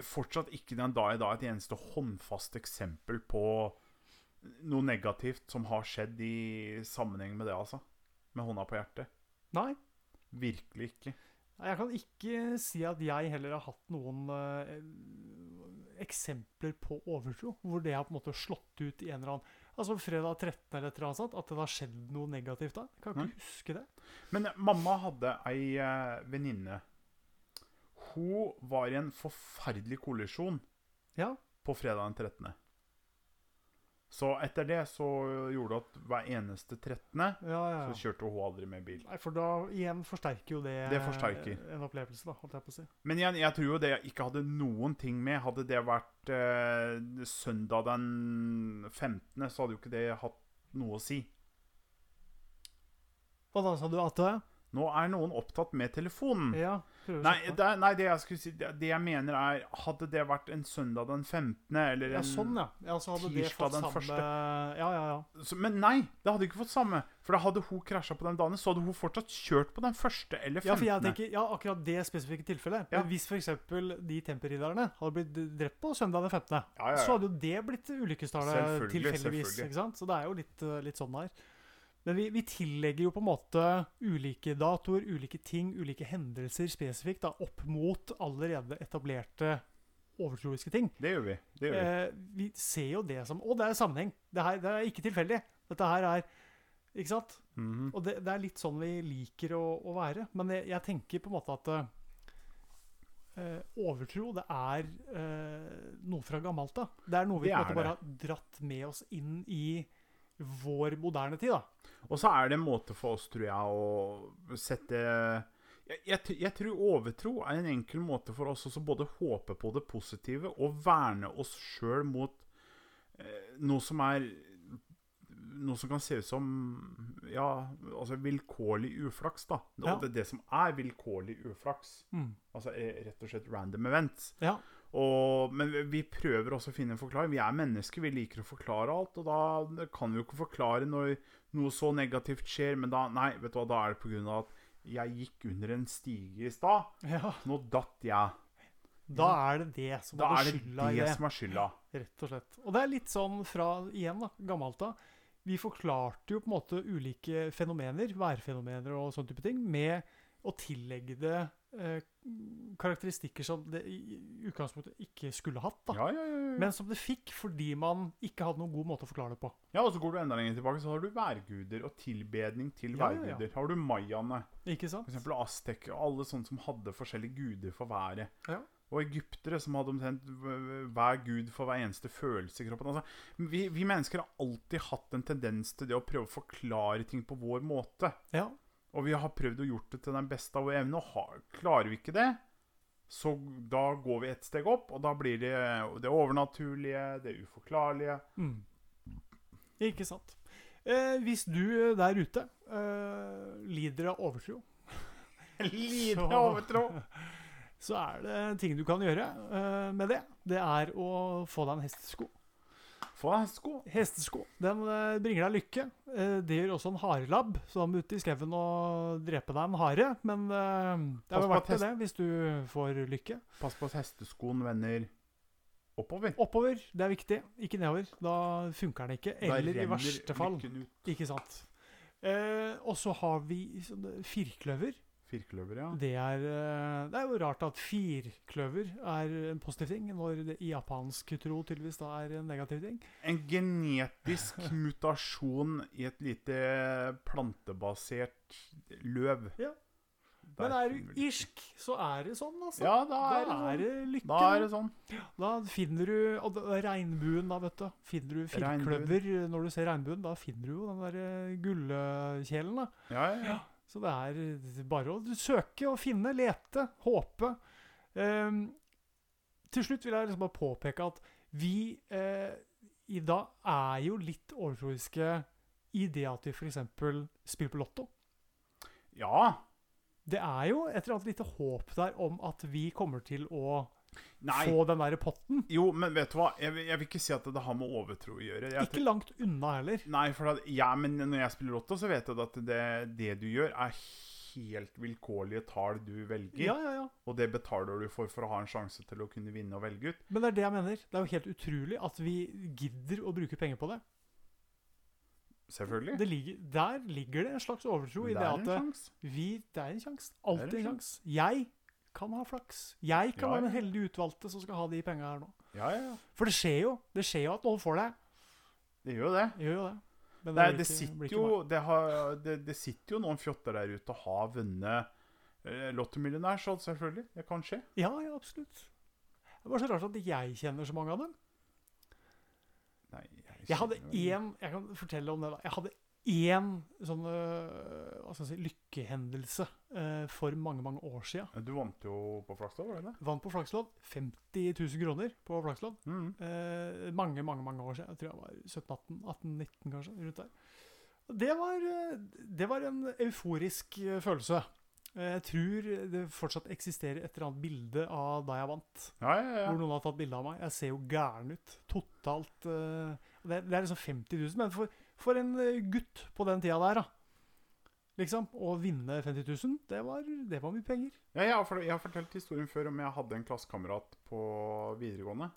S2: fortsatt ikke den dag i dag et eneste håndfast eksempel på noe negativt som har skjedd i sammenheng med det, altså. Med hånda på hjertet.
S1: Nei.
S2: Virkelig ikke.
S1: Nei, Jeg kan ikke si at jeg heller har hatt noen eh, eksempler på overtro, hvor det har på en måte slått ut i en eller annen Altså fredag 13. eller et eller annet sånt, at det har skjedd noe negativt da. Jeg kan ikke
S2: Nei.
S1: huske det.
S2: Men mamma hadde ei eh, venninne. Hun var i en forferdelig kollisjon
S1: Ja.
S2: på fredag den 13. Så etter det så gjorde det at hver eneste 13.
S1: Ja, ja,
S2: så
S1: ja.
S2: kjørte hun aldri med bil.
S1: Nei, for da igjen forsterker jo det,
S2: Det forsterker.
S1: en opplevelse, da, holdt jeg på å si.
S2: Men igjen, jeg tror jo det jeg ikke hadde noen ting med. Hadde det vært eh, søndag den 15., så hadde jo ikke det hatt noe å si.
S1: Hva da, sa du? At det?
S2: Nå er noen opptatt med telefonen.
S1: Ja. prøver å
S2: Mm. Nei,
S1: skjønne.
S2: det, er- nei det, jeg skulle si, det, det jeg mener er Hadde det vært en søndag den 15., eller en
S1: ja, sånn, ja. ja så hadde det
S2: tirsdag
S1: fått
S2: den
S1: samme
S2: første.
S1: Ja, ja, ja.
S2: så, Men nei, det hadde ikke fått samme. For da hadde hun krasja på den dagen, så hadde hun fortsatt kjørt på den første eller 15.
S1: Ja, for jeg tenker, ja, akkurat det spesifikke tilfellet.
S2: Ja.
S1: Men hvis f.eks. de temperridderne hadde blitt drept på søndag den 15.,
S2: Ja, ja, ja.
S1: så hadde jo det blitt ulykkestallet
S2: Selvfølgelig,
S1: tilfeldigvis.
S2: selvfølgelig.
S1: ikke sant? Så det er jo litt, eh, litt sånn her. Men vi, vi tillegger jo på en måte ulike datoer, ulike ting, ulike hendelser spesifikt da, opp mot allerede etablerte overtroiske ting.
S2: Det gjør vi. Det gjør vi.
S1: Eh, vi ser jo det som Å, det er sammenheng! Det, her, det er ikke tilfeldig. Dette her er Ikke sant?
S2: Mhm.
S1: Og det, det er litt sånn vi liker å, å være. Men jeg, jeg tenker på en måte at eh, overtro, det er eh, noe fra gammelt av. Det er noe vi
S2: Det
S1: på en måte
S2: er
S1: bare har dratt med oss inn i vår moderne tid, da.
S2: Og så er det en måte for oss, tror jeg, å sette jeg, jeg, tr- jeg tror overtro er en enkel måte for oss også både håpe på det positive og verne oss sjøl mot eh, noe som er Noe som kan se ut som ja, altså vilkårlig uflaks, da. Og
S1: Ja.
S2: det, det som er vilkårlig uflaks. Altså eh, rett og slett random events.
S1: Ja.
S2: Og, men vi- vi prøver også å finne en forklaring. Vi er mennesker, vi liker å forklare alt. Og da kan vi jo ikke forklare når noe så negativt skjer, men da Nei, vet du hva, da er det pga. at jeg gikk under en stige i stad.
S1: ja.
S2: Nå datt jeg.
S1: Da er det det som
S2: Da er
S1: hadde
S2: det
S1: skylda i
S2: det
S1: det.
S2: som er skylda.
S1: Rett og slett. Og det er litt sånn fra, igjen da, gammelt da, vi forklarte jo på en måte ulike fenomener, værfenomener og sånne type ting, med å tillegge det eh, karakteristikker som det i i utgangspunktet ikke skulle hatt da.
S2: Ja, ja, ja, ja.
S1: Men som det fikk fordi man ikke hadde noen god måte å forklare det på.
S2: ja. Og så går du enda lenger tilbake, så har du værguder og tilbedning
S1: Ja,
S2: til
S1: ja, ja.
S2: værguder. Har du mayaene,
S1: Ikke sant?
S2: f.eks. Aztek, og alle sånne som hadde forskjellige guder for været.
S1: Ja.
S2: Og egyptere som hadde omtrent øh, hver gud for hver eneste følelse i kroppen. Altså, vi, vi mennesker har alltid hatt en tendens til det å prøve å forklare ting på vår måte.
S1: Ja.
S2: Og vi har prøvd å gjort det til den beste av vår evne, og har, klarer vi ikke det, så da går vi et steg opp, og da blir det det overnaturlige, det uforklarlige.
S1: Mm. Ikke sant? Eh, hvis du der ute eh, lider av overtro,
S2: Lider
S1: Så-
S2: av overtro!
S1: så er det ting du kan gjøre eh, med det. Det er å få deg en hestesko.
S2: Få deg hestesko.
S1: Hestesko. Den eh, bringer deg lykke. Eh, det gjør også en harelabb, så da må du ut i skauen og drepe deg en hare. Men eh, det er
S2: Pass
S1: vel
S2: på
S1: verdt
S2: at hest-
S1: det hvis du får lykke.
S2: Pass på at hesteskoen vender oppover.
S1: Oppover, det er viktig. Ikke nedover. Da funker den ikke.
S2: Da
S1: Eller i
S2: renner
S1: verste fall.
S2: lykken ut.
S1: Ikke sant. Eh, og så har vi sånne firkløver.
S2: Firkløver, ja.
S1: Det er, eh, det er jo rart at firkløver er en positiv ting, når det i japansk tro tydeligvis da er en negativ ting.
S2: En genetisk mutasjon i et lite plantebasert løv.
S1: Ja.
S2: Der
S1: Men er
S2: finner
S1: du
S2: vi-
S1: irsk, så er det sånn, altså.
S2: Ja, da
S1: Da
S2: er,
S1: er
S2: det sånn.
S1: det lykke.
S2: Da er det sånn.
S1: Da finner du og da- regnbuen, da, vet du. Finner du firkløver når du ser regnbuen, da finner du jo den der eh, gullkjelen, da.
S2: Ja, ja, ja.
S1: Så det er bare å søke og finne, lete, håpe. Ehm, til slutt vil jeg liksom bare påpeke at vi eh, i dag er jo litt overtroiske i det at vi f.eks. spiller på Lotto.
S2: ja.
S1: Det er jo et eller annet lite håp der om at vi kommer til å
S2: Nei.
S1: få den derre potten.
S2: Jo, men vet du hva? Jeg vil, jeg vil ikke si at det har med overtro å gjøre. Jeg
S1: Ikke langt unna heller.
S2: Nei, for at, ja, men når jeg spiller lotto, så vet jeg at det, det du gjør, er helt vilkårlige tall du velger.
S1: Ja, ja, ja.
S2: Og det betaler du for for å ha en sjanse til å kunne vinne og velge ut.
S1: Men det er det jeg mener. Det er jo helt utrolig at vi gidder å bruke penger på det.
S2: Selvfølgelig.
S1: det ligger, der ligger det en slags overtro i
S2: Men
S1: det
S2: er
S1: at
S2: en
S1: det,
S2: sjanse.
S1: vi, det er en sjanse. Alltid
S2: en
S1: en sjanse. Jeg kan ha flaks. Jeg kan
S2: Ja,
S1: være
S2: ja,
S1: den heldige utvalgte som skal ha de penga her nå.
S2: Ja, ja, ja.
S1: For det skjer jo. Det skjer jo at noen får deg.
S2: Det gjør jo det.
S1: Gjør jo det. Men
S2: Nei,
S1: blir
S2: det
S1: ikke-
S2: sitter
S1: blir ikke
S2: jo
S1: meg.
S2: det, har, det, det sitter jo noen fjotter der ute og har vunnet eh, Lottomillionær, så selvfølgelig. Det kan skje.
S1: Ja, ja, absolutt. Det var så rart at jeg kjenner så mange av dem.
S2: Nei, jeg
S1: Jeg hadde én Jeg kan fortelle om det, da. Jeg hadde én sånn øh, hva skal jeg si, lykkehendelse øh, for mange, mange år sia.
S2: Du vant jo på Flakstad, var det det?
S1: Vant på Flakslodd. 50 000 kroner på Flakslodd.
S2: Mm.
S1: Eh, mange, mange mange år siden. Jeg tror jeg var 17-18, 18-19 kanskje, rundt der. Og Det var, eh, det var en euforisk eh, følelse. Eh, Jeg tror det fortsatt eksisterer et eller annet bilde av da jeg vant.
S2: Ja, ja, ja.
S1: Hvor noen har tatt bilde av meg. Jeg ser jo gæren ut. Totalt eh, og det, er- det er liksom 50 000. Men for, for en eh, gutt på den tida der, da. Liksom, Å vinne 50 000, det var, det var mye penger.
S2: Ja, jeg, har fort- jeg har fortalt historien før om jeg hadde en klassekamerat på videregående.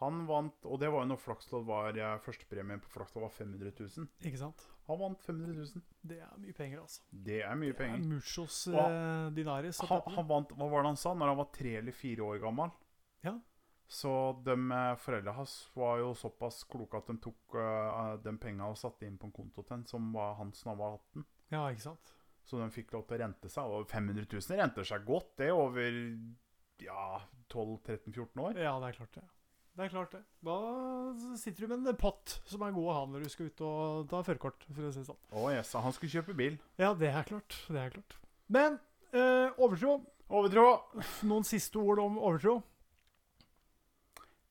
S2: Han vant, og det var jo når Flakslodd var eh, Førstepremien på Flakslodd var 500 000.
S1: Ikke sant?
S2: Han vant 500 000.
S1: Det er mye penger, altså.
S2: Det er mye
S1: Det er
S2: penger.
S1: Muchos
S2: Og
S1: eh, dinaris. at
S2: Han,
S1: dette-
S2: han vant, Hva var det han sa? Når han var tre eller fire år gammel.
S1: Ja.
S2: Så de eh, foreldra hans var jo såpass kloke at de tok eh, de penga og satte inn på en konto til han som var hans når han var 18.
S1: Ja, ikke sant?
S2: Så de fikk lov til å rente seg. Og 500 000 renter seg godt, det, over ja, 12-13-14 år.
S1: Ja, det er klart det. Det er klart det. Da sitter du med en pott som er god å ha når du skal ut og ta førerkort, for å si det sånn.
S2: Å, yes, han skulle kjøpe bil.
S1: Ja, det er klart. Det er klart. Men eh, overtro.
S2: Overtro!
S1: Noen siste ord om overtro?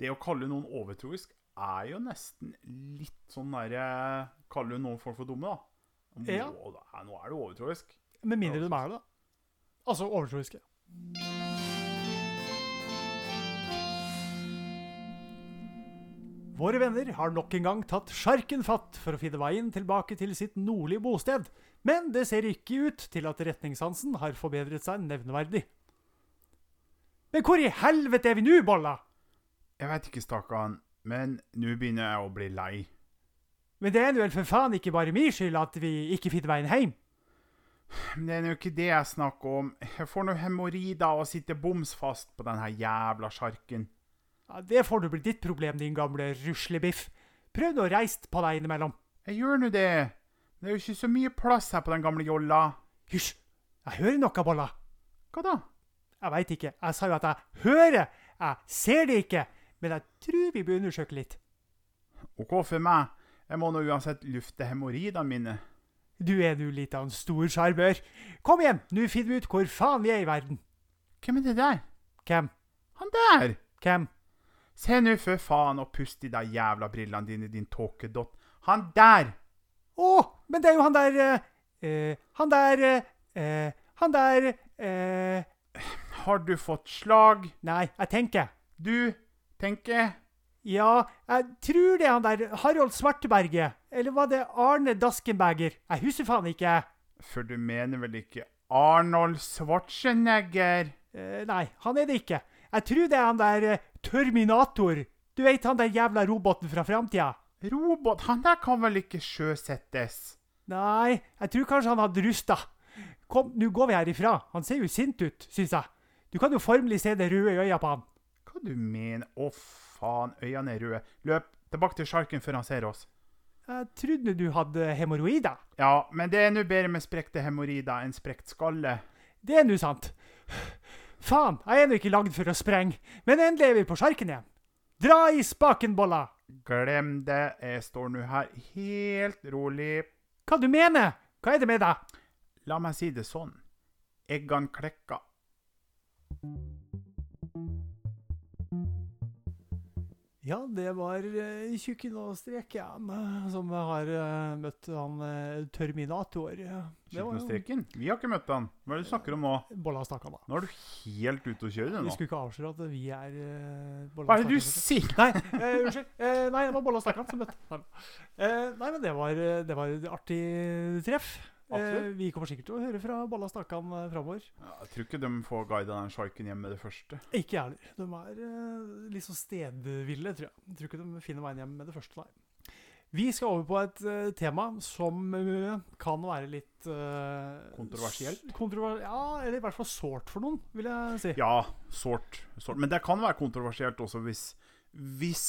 S2: Det å kalle noen overtroisk er jo nesten litt sånn derre Kaller du noen folk for dumme, da? Nå,
S1: Ja.
S2: da- nå er du overtroisk.
S1: Med mindre de er det, da. Altså overtroiske. Våre venner har nok en gang tatt sjarken fatt for å finne veien tilbake til sitt nordlige bosted, men det ser ikke ut til at retningssansen har forbedret seg nevneverdig. Men hvor i helvete er vi nå, bolla?
S2: Jeg veit ikke, stakkan, men nå begynner jeg å bli lei.
S1: Men det er vel for faen ikke bare min skyld at vi ikke finner veien heim.
S2: Men det er jo ikke det jeg snakker om. Jeg får noe hemoroider og sitter boms fast på den her jævla sjarken.
S1: Ja, det får du bli ditt problem, din gamle ruslebiff. Prøv nå å reise på deg innimellom.
S2: Jeg gjør nå det. Men det er jo ikke så mye plass her på den gamle jolla.
S1: Hysj! Jeg hører noe, Bolla.
S2: Hva da?
S1: Jeg veit ikke. Jeg sa jo at jeg hører. Jeg ser det ikke. Men jeg tror vi bør undersøke litt.
S2: OK for meg. Jeg må nå uansett lufte hemoroidene mine.
S1: Du er nå litt av en stor sjarmør. Kom igjen, nå finner vi ut hvor faen vi er i verden.
S2: Hvem er det der?
S1: Hvem?
S2: Han der!
S1: Hvem?
S2: Se nå for faen og pust i de jævla brillene dine, din tåkedott. Han der!
S1: Å, men det er jo han der eh, eh, Han der eh, eh, Han der eh,
S2: Har du fått slag?
S1: Nei, jeg tenker.
S2: Du, tenker
S1: Ja, jeg tror det er han der Harald Svarteberget. Eller var det Arne Daskenberger? Jeg husker faen ikke.
S2: For du mener vel ikke Arnold Schwarzenegger?
S1: Eh, nei, han er det ikke. Jeg tror det er han der eh, Terminator. Du vet han der jævla roboten fra framtida?
S2: Robot, han der kan vel ikke sjøsettes?
S1: Nei, jeg tror kanskje han hadde rusta. Kom, nå går vi herifra. Han ser jo sint ut, syns jeg. Du kan jo formelig se det røde i øya på han.
S2: Hva du mener? Å faen, øynene er røde. Løp tilbake til sjarken før han ser oss.
S1: Jeg trodde du hadde hemoroider.
S2: Ja, men det er nå bedre med sprekte hemoroider enn sprekt skalle.
S1: Det er nå sant. Faen, jeg er nå ikke lagd for å sprenge, men endelig er vi på sjarken igjen. Dra i spaken, bolla!
S2: Glem det, jeg står nå her helt rolig.
S1: Hva du mener? Hva er det med deg?
S2: La meg si det sånn. Eggene klekka.
S1: Ja, det var eh, Tjukken og Streken eh, som har eh, møtt han eh, Terminator. Det var jo
S2: Skitnestreken. Vi har ikke møtt han. Hva er det du snakker om nå?
S1: Bolla stakk han, da.
S2: Nå er du helt ute å kjøre, du
S1: Vi
S2: nå.
S1: skulle ikke avsløre at vi er eh, Bolla
S2: Hva er det du
S1: Stakkan.
S2: sier?
S1: Nei, eh, unnskyld. Eh, nei, det var Bolla Stakkan som møtte han. Eh, nei, men det var, eh, det var et artig treff. Eh,
S2: Absolutt.
S1: vi kommer sikkert til å høre fra Bolla Stakkan eh, framover.
S2: Ja, Jeg tror ikke de får guida den sjarken hjem med det første.
S1: Ikke jeg heller. De er eh, litt sånn stedville, tror jeg. Jeg tror ikke de finner veien hjem med det første, nei. Vi skal over på et eh, tema som eh, kan være litt eh,
S2: Kontroversielt?
S1: s- Kontrover ja, eller i hvert fall sårt for noen, vil jeg si.
S2: Ja, sort. sort. Men det kan være kontroversielt også hvis, hvis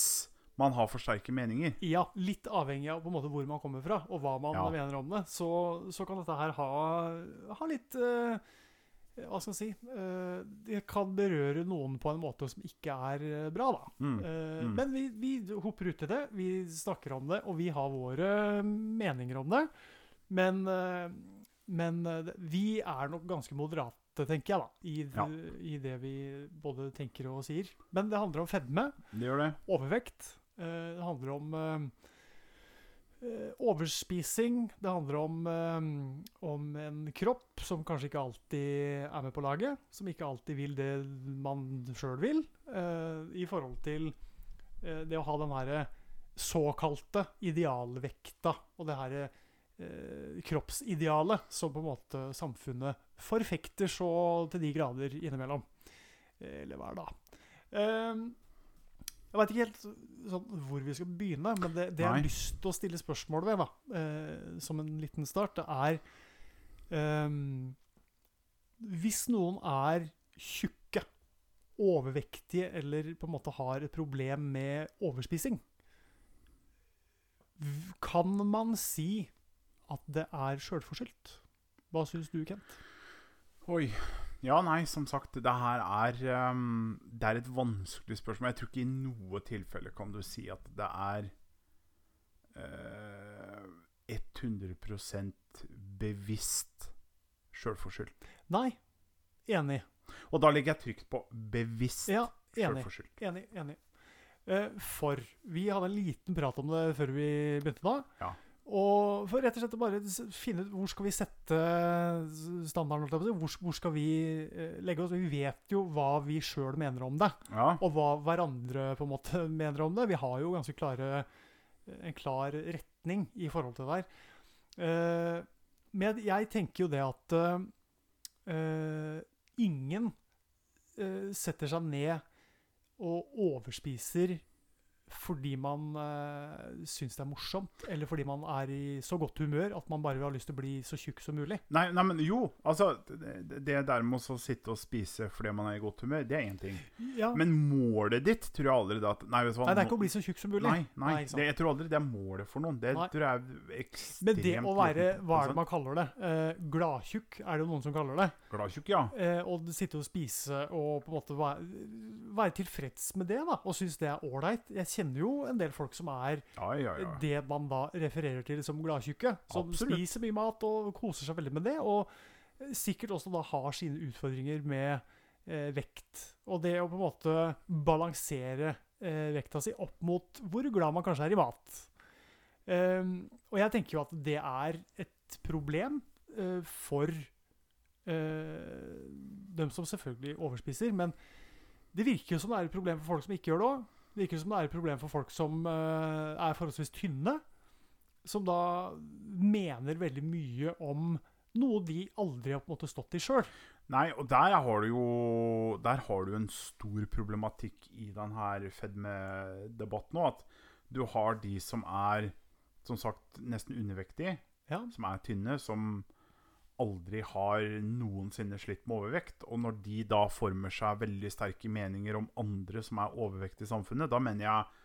S2: man har for sterke meninger.
S1: Ja, litt avhengig av på en måte hvor man kommer fra, og hva man
S2: Ja.
S1: mener om det. Så, så kan dette her ha, ha litt eh, hva skal jeg si eh, Det kan berøre noen på en måte som ikke er eh, bra, da.
S2: Mm.
S1: Eh,
S2: mm.
S1: Men vi, vi hopper ut i det, vi snakker om det, og vi har våre eh, meninger om det. Men, eh, men eh, det- vi er nok ganske moderate, tenker jeg, da. I,
S2: Ja.
S1: I det vi både tenker og sier. Men det handler om fedme,
S2: Det gjør det.
S1: overvekt. eh, Det handler om eh, eh, overspising. Det handler om, eh, om en kropp som kanskje ikke alltid er med på laget. Som ikke alltid vil det man sjøl vil. eh, I forhold til eh, det å ha den herre såkalte idealvekta og det herre eh, kroppsidealet som på en måte samfunnet forfekter så til de grader innimellom. Eh, Eller hva er det da? Eh, jeg veit ikke helt sånn, hvor vi skal begynne, men det, det jeg
S2: Nei.
S1: har lyst til å stille spørsmål ved, da, eh, som en liten start, det er ehm, Hvis noen er tjukke, overvektige eller på en måte har et problem med overspising, v- kan man si at det er sjølforskyldt? Hva syns du, Kent?
S2: Oi. Ja, nei, som sagt, det her er ehm, Det er et vanskelig spørsmål. Jeg tror ikke i noe tilfelle kan du si at det er eh, 100 bevisst sjølforskyldt.
S1: Nei. Enig.
S2: Og da legger jeg trygt på 'bevisst
S1: Ja, enig.
S2: sjølforskyldt'.
S1: Enig. enig. Eh, for vi hadde en liten prat om det før vi begynte da.
S2: Ja.
S1: Og for rett og slett å bare s- finne ut hvor skal vi sette s- standarden. holdt jeg på å si. Hvor, s- hvor skal vi eh, legge oss? Vi vet jo hva vi sjøl mener om det,
S2: Ja.
S1: og hva hverandre på en måte mener om det. Vi har jo ganske klare, en klar retning i forhold til det der. Eh, men jeg tenker jo det at eh, eh, ingen eh, setter seg ned og overspiser fordi man uh, syns det er morsomt, eller fordi man er i så godt humør at man bare vil ha lyst til å bli så tjukk som mulig.
S2: Nei, nei, men jo. Altså, det, det der med å sitte og spise fordi man er i godt humør, det er én ting.
S1: Ja.
S2: Men målet ditt tror jeg aldri det at Nei, vet du hva,
S1: nei, det er
S2: nå-
S1: ikke å bli så tjukk som mulig.
S2: Nei, nei,
S1: Nei, ikke sant.
S2: det, jeg tror aldri det er målet for noen. Det
S1: Nei.
S2: tror jeg er ekstremt
S1: Men det å være
S2: liten
S1: Hva er det
S2: prosent.
S1: man kaller det? Eh, gladtjukk er det jo noen som kaller det.
S2: Gladtjukk, ja.
S1: Eh, og sitte og spise og på en måte være, være tilfreds med det, da. Og synes det er ålreit. Jeg kjenner jo en del folk som er
S2: Ja, ja, ja.
S1: det man da refererer til som gladtjukke. Som
S2: Absolutt.
S1: spiser mye mat og koser seg veldig med det. Og sikkert også da har sine utfordringer med eh, vekt. Og det å på en måte balansere eh, vekta si opp mot hvor glad man kanskje er i mat. Ehm, og jeg tenker jo at det er et problem eh, for eh, dem som selvfølgelig overspiser, men det virker jo som det er et problem for folk som ikke gjør det òg. Det virker som det er et problem for folk som eh, er forholdsvis tynne, som da mener veldig mye om noe de aldri har på en måte stått i sjøl.
S2: Nei, og der har du jo Der har du en stor problematikk i denne fedmedebatten òg. At du har de som er, som sagt, nesten undervektige,
S1: Ja.
S2: som er tynne, som aldri har noensinne slitt med overvekt. Og når de da former seg veldig sterke meninger om andre som er overvektige i samfunnet, da mener jeg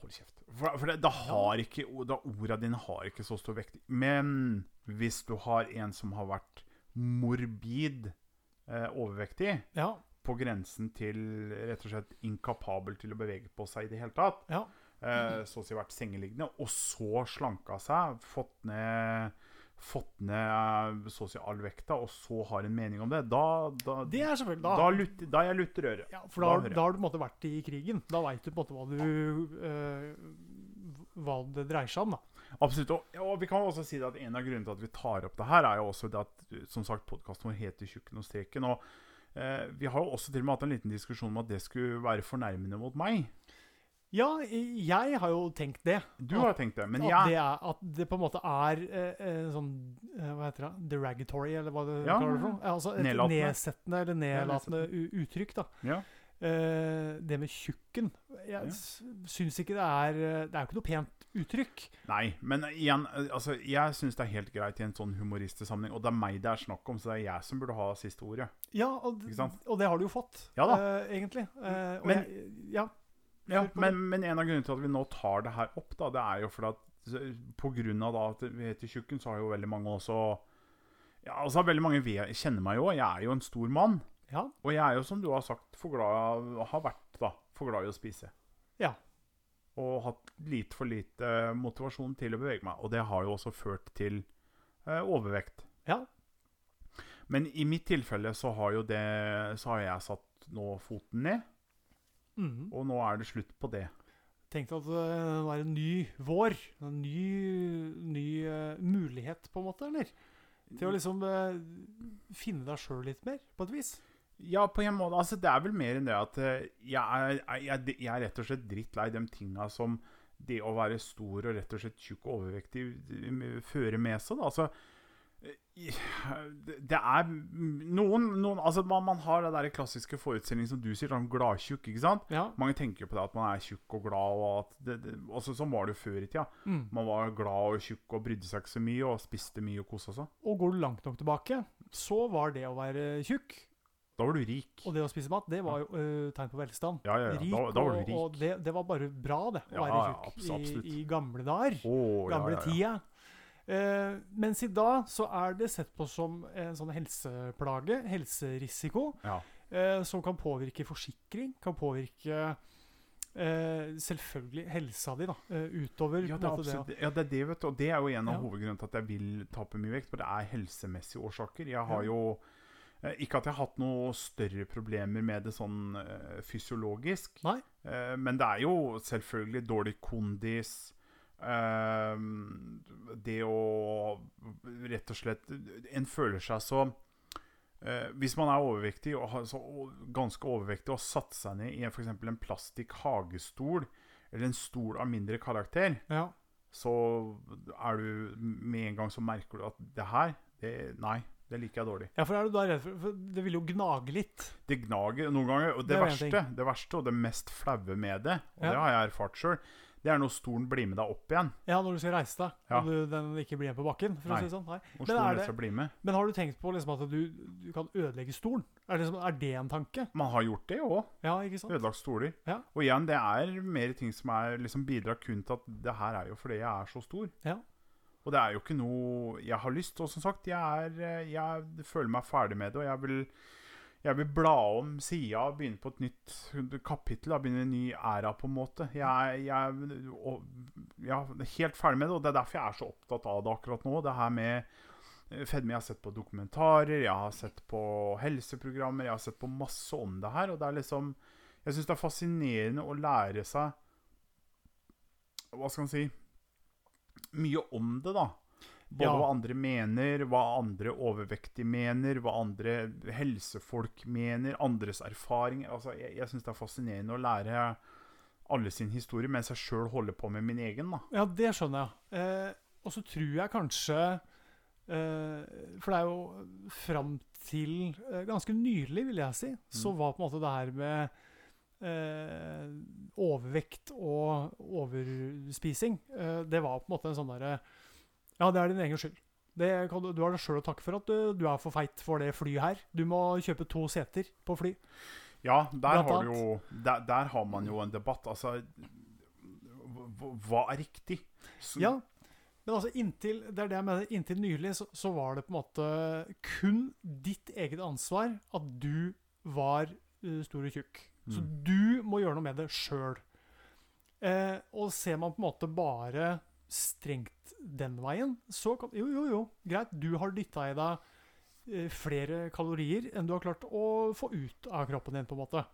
S2: Hold kjeft. For, for det, da har ikke da Orda dine har ikke så stor vekt. Men hvis du har en som har vært morbid eh, overvektig,
S1: ja,
S2: på grensen til rett og slett inkapabel til å bevege på seg i det hele tatt,
S1: ja.
S2: eh, så å si vært sengeliggende, og så slanka seg, fått ned, fått ned eh, så å si all vekta, og så har en mening om det, da, da,
S1: Det er selvfølgelig
S2: da,
S1: da.
S2: lutter, da er jeg lutter øret.
S1: ja, for da,
S2: da hører jeg.
S1: da har du på en måte vært i krigen. Da veit du på en måte hva du eh, Hva det dreier seg om, da.
S2: Absolutt. Og, og vi kan også si det at en av grunnene til at vi tar opp det her, er jo også det at som sagt, podkasten vår heter 'Tjukken og streken'. og eh, vi har jo også til og med hatt en liten diskusjon om at det skulle være fornærmende mot meg.
S1: Ja, jeg har jo tenkt det.
S2: Du har tenkt det, men
S1: at,
S2: jeg
S1: det er, at det på en måte er eh, eh, sånn eh, Hva heter det? Derogatory, eller hva det
S2: Ja,
S1: kaller det
S2: ja,
S1: for noe? Ja, Altså et
S2: Nedlatende.
S1: nedsettende eller nedlatende u- uttrykk, da.
S2: ja.
S1: Eh, det med tjukken Jeg
S2: Ja.
S1: s- syns ikke det er eh, Det er jo ikke noe pent uttrykk.
S2: Nei, men igjen, altså, jeg syns det er helt greit i en sånn humoristisk sammenheng. Og det er meg det er snakk om, så det er jeg som burde ha siste ordet.
S1: Ja, og,
S2: Ikke sant?
S1: og det har du jo fått,
S2: Ja Mm.
S1: eh, egentlig. Eh, og
S2: Men-
S1: jeg, ja,
S2: Ja,
S1: Kjør på.
S2: men, men en av grunnene til at vi nå tar det her opp, da, det er jo fordi at så- på grunn av da at vi heter Tjukken, så har jo veldig mange også Ja, altså Veldig mange ve- kjenner meg jo. Jeg er jo en stor mann.
S1: Ja.
S2: Og jeg er jo, som du har sagt, for glad, har vært da, for glad i å spise.
S1: Ja.
S2: Og hatt litt for lite motivasjon til å bevege meg. Og det har jo også ført til eh, overvekt.
S1: Ja.
S2: Men i mitt tilfelle så har jo det Så har jeg satt nå foten ned,
S1: Mhm.
S2: og nå er det slutt på det.
S1: Tenkte at eh, det var en ny vår. En ny, ny eh, mulighet, på en måte, eller? Til å liksom eh, finne deg sjøl litt mer, på et vis.
S2: Ja, på en måte. Altså, det er vel mer enn det at eh, jeg er, jeg, jeg- jeg er rett og slett drittlei de tinga som det å være stor og rett og slett tjukk og overvektig eh, fører med seg. Da. Altså, eh, i- det det er noen, noen Altså, man, man har den der klassiske forutstillingen som du sier, sånn gladtjukk, ikke sant?
S1: Ja.
S2: Mange tenker jo på det at man er tjukk og glad, og at det, det, også sånn var det jo før i tida.
S1: Mm.
S2: Man var glad og tjukk og brydde seg ikke så mye, og spiste mye og kosa seg.
S1: Og går du langt nok tilbake, så var det å være tjukk
S2: Da var du rik.
S1: og det å spise mat, det var jo eh, tegn på velstand.
S2: Ja, ja, ja.
S1: Rik,
S2: Da, da var du rik.
S1: og, og det, det var bare bra, det, å
S2: Ja,
S1: være
S2: ja,
S1: tjukk
S2: abs- absolutt.
S1: i, i gamle dager.
S2: Å, ja,
S1: gamle
S2: ja, ja.
S1: tida. Eh, mens i dag så er det sett på som en sånn helseplage, helserisiko,
S2: Ja.
S1: eh, som kan påvirke forsikring, kan påvirke eh, selvfølgelig helsa di, da, eh, utover på en
S2: Ja, det er
S1: måte det å-
S2: absolutt det. Ja, det er det, vet du. Og det er jo en av
S1: Ja.
S2: hovedgrunnene til at jeg vil tape mye vekt, for det er helsemessige årsaker. Jeg
S1: Ja.
S2: har jo eh, ikke at jeg har hatt noe større problemer med det sånn eh, fysiologisk,
S1: Nei.
S2: Eh, men det er jo selvfølgelig dårlig kondis, eh, det å rett og slett En føler seg så eh, hvis man er overvektig og har, så, og, ganske overvektig og satt seg ned i f.eks. en plastikk hagestol eller en stol av mindre karakter,
S1: ja.
S2: så er du med en gang så merker du at det her det, Nei, det liker jeg dårlig.
S1: ja, for er du da redd for, for Det vil jo gnage litt.
S2: Det gnager noen ganger. Og det,
S1: Det er jo en
S2: verste, det verste og det mest flaue med det, og
S1: Ja.
S2: det har jeg erfart sjøl, det er når stolen blir med deg opp igjen.
S1: Ja, når du skal reise deg,
S2: Ja.
S1: og du, den ikke blir igjen på bakken. for
S2: Nei.
S1: å si det sånn. Nei.
S2: Og
S1: Men er
S2: stolen
S1: det-
S2: nesten blir med.
S1: Men har du tenkt på liksom at du, du kan ødelegge stolen? Er det, liksom, er det en tanke?
S2: Man har gjort det òg.
S1: Ja, ikke sant?
S2: Ødelagt stoler.
S1: Ja.
S2: Og igjen, det er mer ting som er, liksom bidrar kun til at det her er jo fordi jeg er så stor.
S1: Ja.
S2: Og det er jo ikke noe jeg har lyst til. Og som sagt, jeg, er, eh, jeg føler meg ferdig med det, og jeg vil, jeg vil bla om sida og begynne på et nytt kapittel. da, Begynne en ny æra, på en måte. Jeg, jeg, og, ja, helt ferdig med det, og det er derfor jeg er så opptatt av det akkurat nå. Det her med eh, fedme. Jeg har sett på dokumentarer, jeg har sett på helseprogrammer, jeg har sett på masse om det her. Og det er liksom Jeg syns det er fascinerende å lære seg Hva skal man si Mye om det, da. Både
S1: Ja.
S2: hva andre mener, hva andre overvektige mener, hva andre helsefolk mener, andres erfaring altså, Jeg, jeg syns det er fascinerende å lære alle sin historie mens jeg sjøl holder på med min egen. da.
S1: Ja, det skjønner jeg. Eh, og så tror jeg kanskje eh, For det er jo fram til eh, ganske nylig, vil jeg si, så
S2: Mm.
S1: var på en måte det her med eh, overvekt og overspising eh, Det var på en måte en sånn derre Ja, det er din egen skyld. Det kan, du- du har deg sjøl å takke for at du, du er for feit for det flyet her. Du må kjøpe to seter på fly.
S2: Ja, der
S1: Blant
S2: har, du jo, der, der har man jo en debatt. Altså hva- Hva er riktig? Så-
S1: Ja. Men altså inntil, det er det jeg mener, inntil nylig så, så var det på en måte kun ditt eget ansvar at du var eh, stor og tjukk. Så
S2: Mm.
S1: du må gjøre noe med det sjøl. Eh, og ser man på en måte bare strengt den veien, så kan Jo, jo, jo, greit. Du har dytta i deg eh, flere kalorier enn du har klart å få ut av kroppen din, på en måte.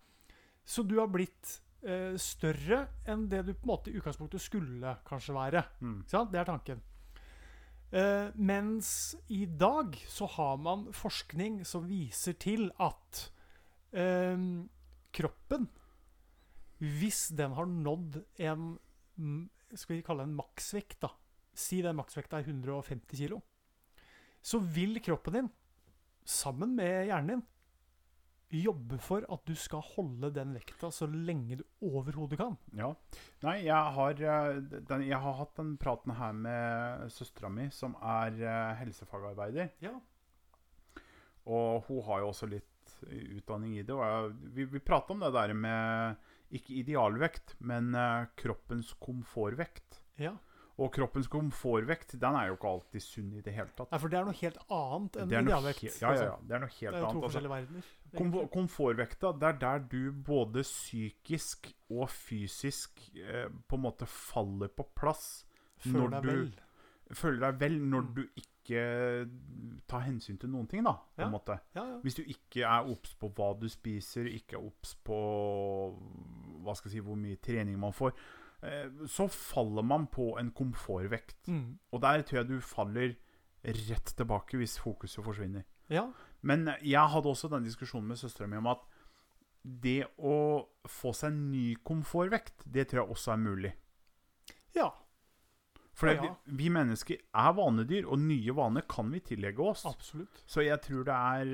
S1: Så du har blitt eh, større enn det du på en måte i utgangspunktet skulle kanskje være.
S2: Mm.
S1: Ikke sant? Det er tanken. Eh, mens i dag så har man forskning som viser til at eh, kroppen, hvis den har nådd en mm, Skal vi kalle det en maksvekt, da. Si den maksvekta er 150 kg. Så vil kroppen din, sammen med hjernen din, jobbe for at du skal holde den vekta så lenge du overhodet kan.
S2: ja. Nei, jeg har, eh, den, jeg har hatt den praten her med søstera mi, som er eh, helsefagarbeider.
S1: Ja.
S2: Og hun har jo også litt utdanning i det. Og jeg, vi vi prata om det der med ikke idealvekt, men eh, kroppens komfortvekt.
S1: Ja.
S2: Og kroppens komfortvekt den er jo ikke alltid sunn i det hele tatt.
S1: Nei, for det er noe helt annet enn
S2: Det er noe
S1: idealvekt.
S2: he- ja, ja, ja,
S1: altså.
S2: det er noe
S1: Det
S2: helt
S1: er jo to
S2: annet. Altså.
S1: forskjellige verdener.
S2: Kom
S1: egentlig.
S2: komfortvekta, det er der du både psykisk og fysisk eh, på en måte faller på plass.
S1: Føler
S2: når
S1: deg vel.
S2: du- Føler deg vel når
S1: Mm.
S2: du ikke tar hensyn til noen ting, da. på
S1: Ja.
S2: en måte.
S1: Ja, ja.
S2: Hvis du ikke er obs på hva du spiser, ikke er obs på hva skal jeg si, hvor mye trening man får, eh, så faller man på en komfortvekt.
S1: Mm.
S2: Og der tror jeg du faller rett tilbake hvis fokuset forsvinner.
S1: ja.
S2: Men jeg hadde også den diskusjonen med søstera mi om at det å få seg en ny komfortvekt, det tror jeg også er mulig.
S1: Ja,
S2: For
S1: Å, ja.
S2: vi, vi mennesker er vanedyr, og nye vaner kan vi tillegge oss.
S1: absolutt.
S2: Så jeg tror det er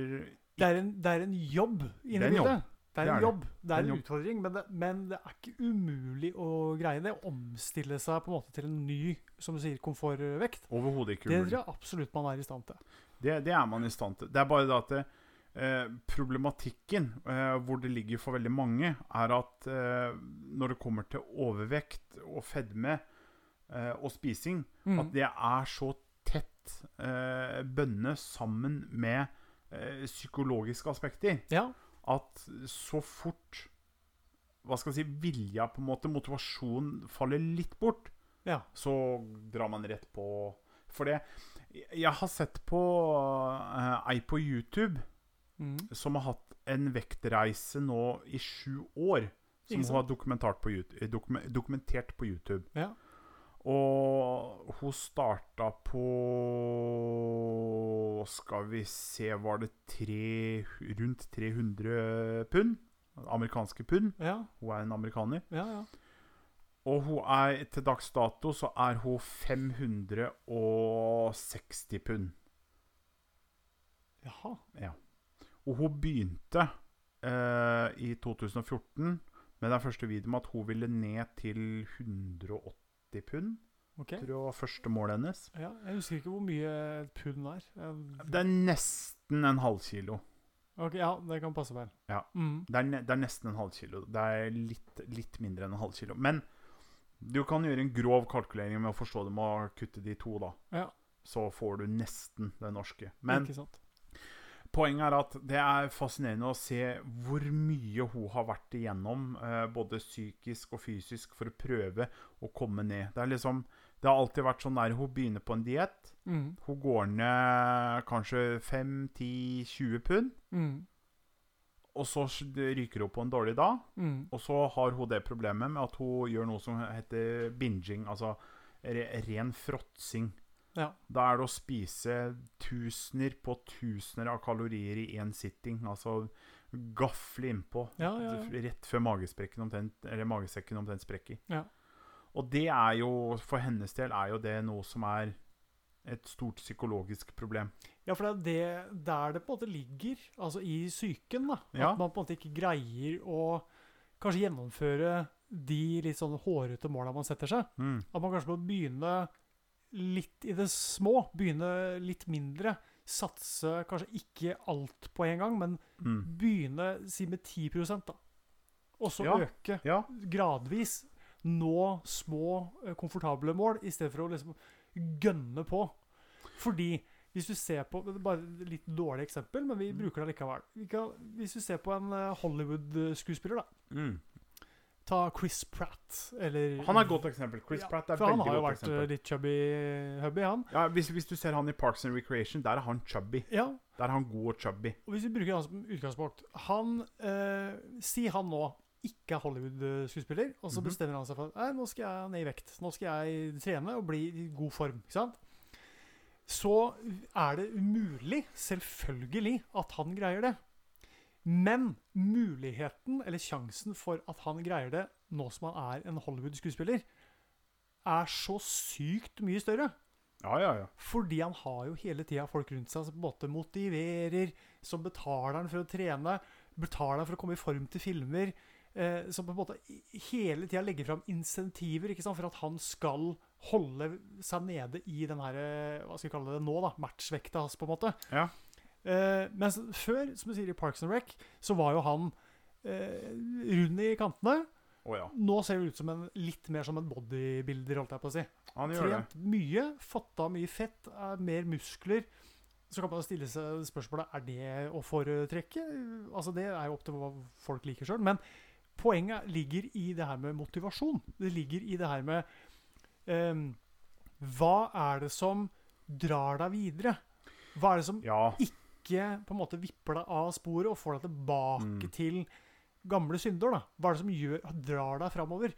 S1: Det er en, det er en jobb
S2: Det er
S1: inni
S2: en jobb.
S1: bildet. Det er en jobb. Det
S2: Det
S1: er
S2: er en
S1: en
S2: jobb.
S1: utfordring, men det, men det er ikke umulig å greie det. Omstille seg på en måte til en ny som du sier, komfortvekt.
S2: overhodet ikke
S1: Det tror
S2: umulig.
S1: jeg absolutt man er i stand til.
S2: Det, det er man i stand til. Det er bare det at det, eh, problematikken eh, hvor det ligger for veldig mange, er at eh, når det kommer til overvekt og fedme eh, og spising,
S1: Mm.
S2: at det er så tett eh, bønne sammen med eh, psykologiske aspekter
S1: Ja,
S2: at så fort hva skal jeg si, vilja, på en måte, motivasjonen faller litt bort,
S1: Ja.
S2: så drar man rett på For det Jeg har sett på eh, ei på YouTube
S1: mm.
S2: som har hatt en vektreise nå i sju år. Som
S1: Ikke
S2: hun har dokumentert på, Yout- eh, dokumen- dokumentert på YouTube.
S1: Ja.
S2: Og hun starta på Skal vi se Var det tre, rundt 300 pund? Amerikanske pund.
S1: ja,
S2: Hun er en amerikaner.
S1: ja, ja.
S2: Og hun er, til dags dato så er hun 560 pund.
S1: Jaha.
S2: Og hun begynte eh, i 2014 med den første videoen med at hun ville ned til 180 pund.
S1: Ok.
S2: Tror jeg var første målet hennes.
S1: Ja, jeg husker ikke hvor mye et pund er. Jeg-
S2: Det er nesten en halv kilo.
S1: Ok, ja, det kan passe vel.
S2: Ja.
S1: Mm.
S2: Det er, ne det er nesten en halv kilo. Det er litt, litt mindre enn en halv kilo. Men du kan gjøre en grov kalkulering med å forstå det med å kutte de to, da.
S1: Ja.
S2: Så får du nesten det norske. Men
S1: Ikke sant?
S2: Poenget er at det er fascinerende å se hvor mye hun har vært igjennom, eh, både psykisk og fysisk, for å prøve å komme ned. Det, er liksom, det har alltid vært sånn der hun begynner på en diett.
S1: Mm.
S2: Hun går ned kanskje 5-10-20 pund,
S1: Mm.
S2: og så s- ryker hun på en dårlig dag.
S1: Mm.
S2: Og så har hun det problemet med at hun gjør noe som heter binging, altså re ren fråtsing.
S1: Ja.
S2: Da er det å spise tusener på tusener av kalorier i én sitting. Altså gafle innpå.
S1: Ja, ja, ja.
S2: Rett før magesprekken omtrent, eller magesekken omtrent sprekker.
S1: Ja.
S2: Og det er jo, for hennes del, er jo det noe som er et stort psykologisk problem.
S1: Ja, for det er det, der det på en måte ligger, altså i psyken, da.
S2: Ja.
S1: At man på en måte ikke greier å kanskje gjennomføre de litt sånn hårete måla man setter seg.
S2: Mm.
S1: At man kanskje må begynne litt i det små. Begynne litt mindre. Satse kanskje ikke alt på en gang, men
S2: Mm.
S1: begynne si med 10 da. Og så
S2: Ja.
S1: øke
S2: Ja.
S1: gradvis. Nå små, eh, komfortable mål, i stedet for å liksom gønne på. Fordi hvis du ser på det er Bare et litt dårlig eksempel, men vi
S2: Mm.
S1: bruker det likevel. Vi kan, hvis du ser på en eh, Hollywood-skuespiller, da.
S2: Mm.
S1: Ta Chris Pratt, eller
S2: Han er et godt eksempel. Chris
S1: Ja,
S2: Pratt er et
S1: For han
S2: veldig
S1: har jo
S2: godt
S1: vært
S2: eksempel.
S1: eh, litt chubby hubby, han.
S2: Ja, hvis, hvis du ser han i Parks and Recreation, der er han chubby.
S1: Ja,
S2: Der er han god og chubby.
S1: og hvis vi bruker han som utgangspunkt Han, eh, Si han nå ikke er Hollywood-skuespiller, og så
S2: Mhm.
S1: bestemmer han seg for at «Nei, nå skal jeg ned i vekt. Nå skal jeg trene og bli i god form. ikke sant? Så er det umulig, selvfølgelig, at han greier det. Men muligheten, eller sjansen for at han greier det nå som han er en Hollywood-skuespiller, er så sykt mye større.
S2: Ja, ja, ja.
S1: Fordi han har jo hele tida folk rundt seg som på en måte motiverer, som betaler han for å trene, betaler han for å komme i form til filmer, eh, som på en måte i- hele tida legger fram insentiver ikke sant, for at han skal holde seg nede i den her, eh, hva skal vi kalle det nå, da, matchvekta hans, på en måte.
S2: Ja.
S1: Eh, mens før, som du sier i Parks and Rec, så var jo han eh, rund i kantene,
S2: Å ja.
S1: Nå ser det ut som en, litt mer som en bodybuilder, holdt jeg på å si.
S2: Han gjør det.
S1: Trent mye, fått av mye fett, er mer muskler. Så kan man jo stille seg spørsmålet er det å foretrekke. Altså Det er jo opp til hva folk liker sjøl. Men poenget ligger i det her med motivasjon. Det ligger i det her med ehm, Hva er det som drar deg videre? Hva er det som
S2: Ja.
S1: ikke på en måte vipper deg av sporet og får deg tilbake
S2: Mm.
S1: til gamle synder. da. Hva er det som gjør, drar deg framover?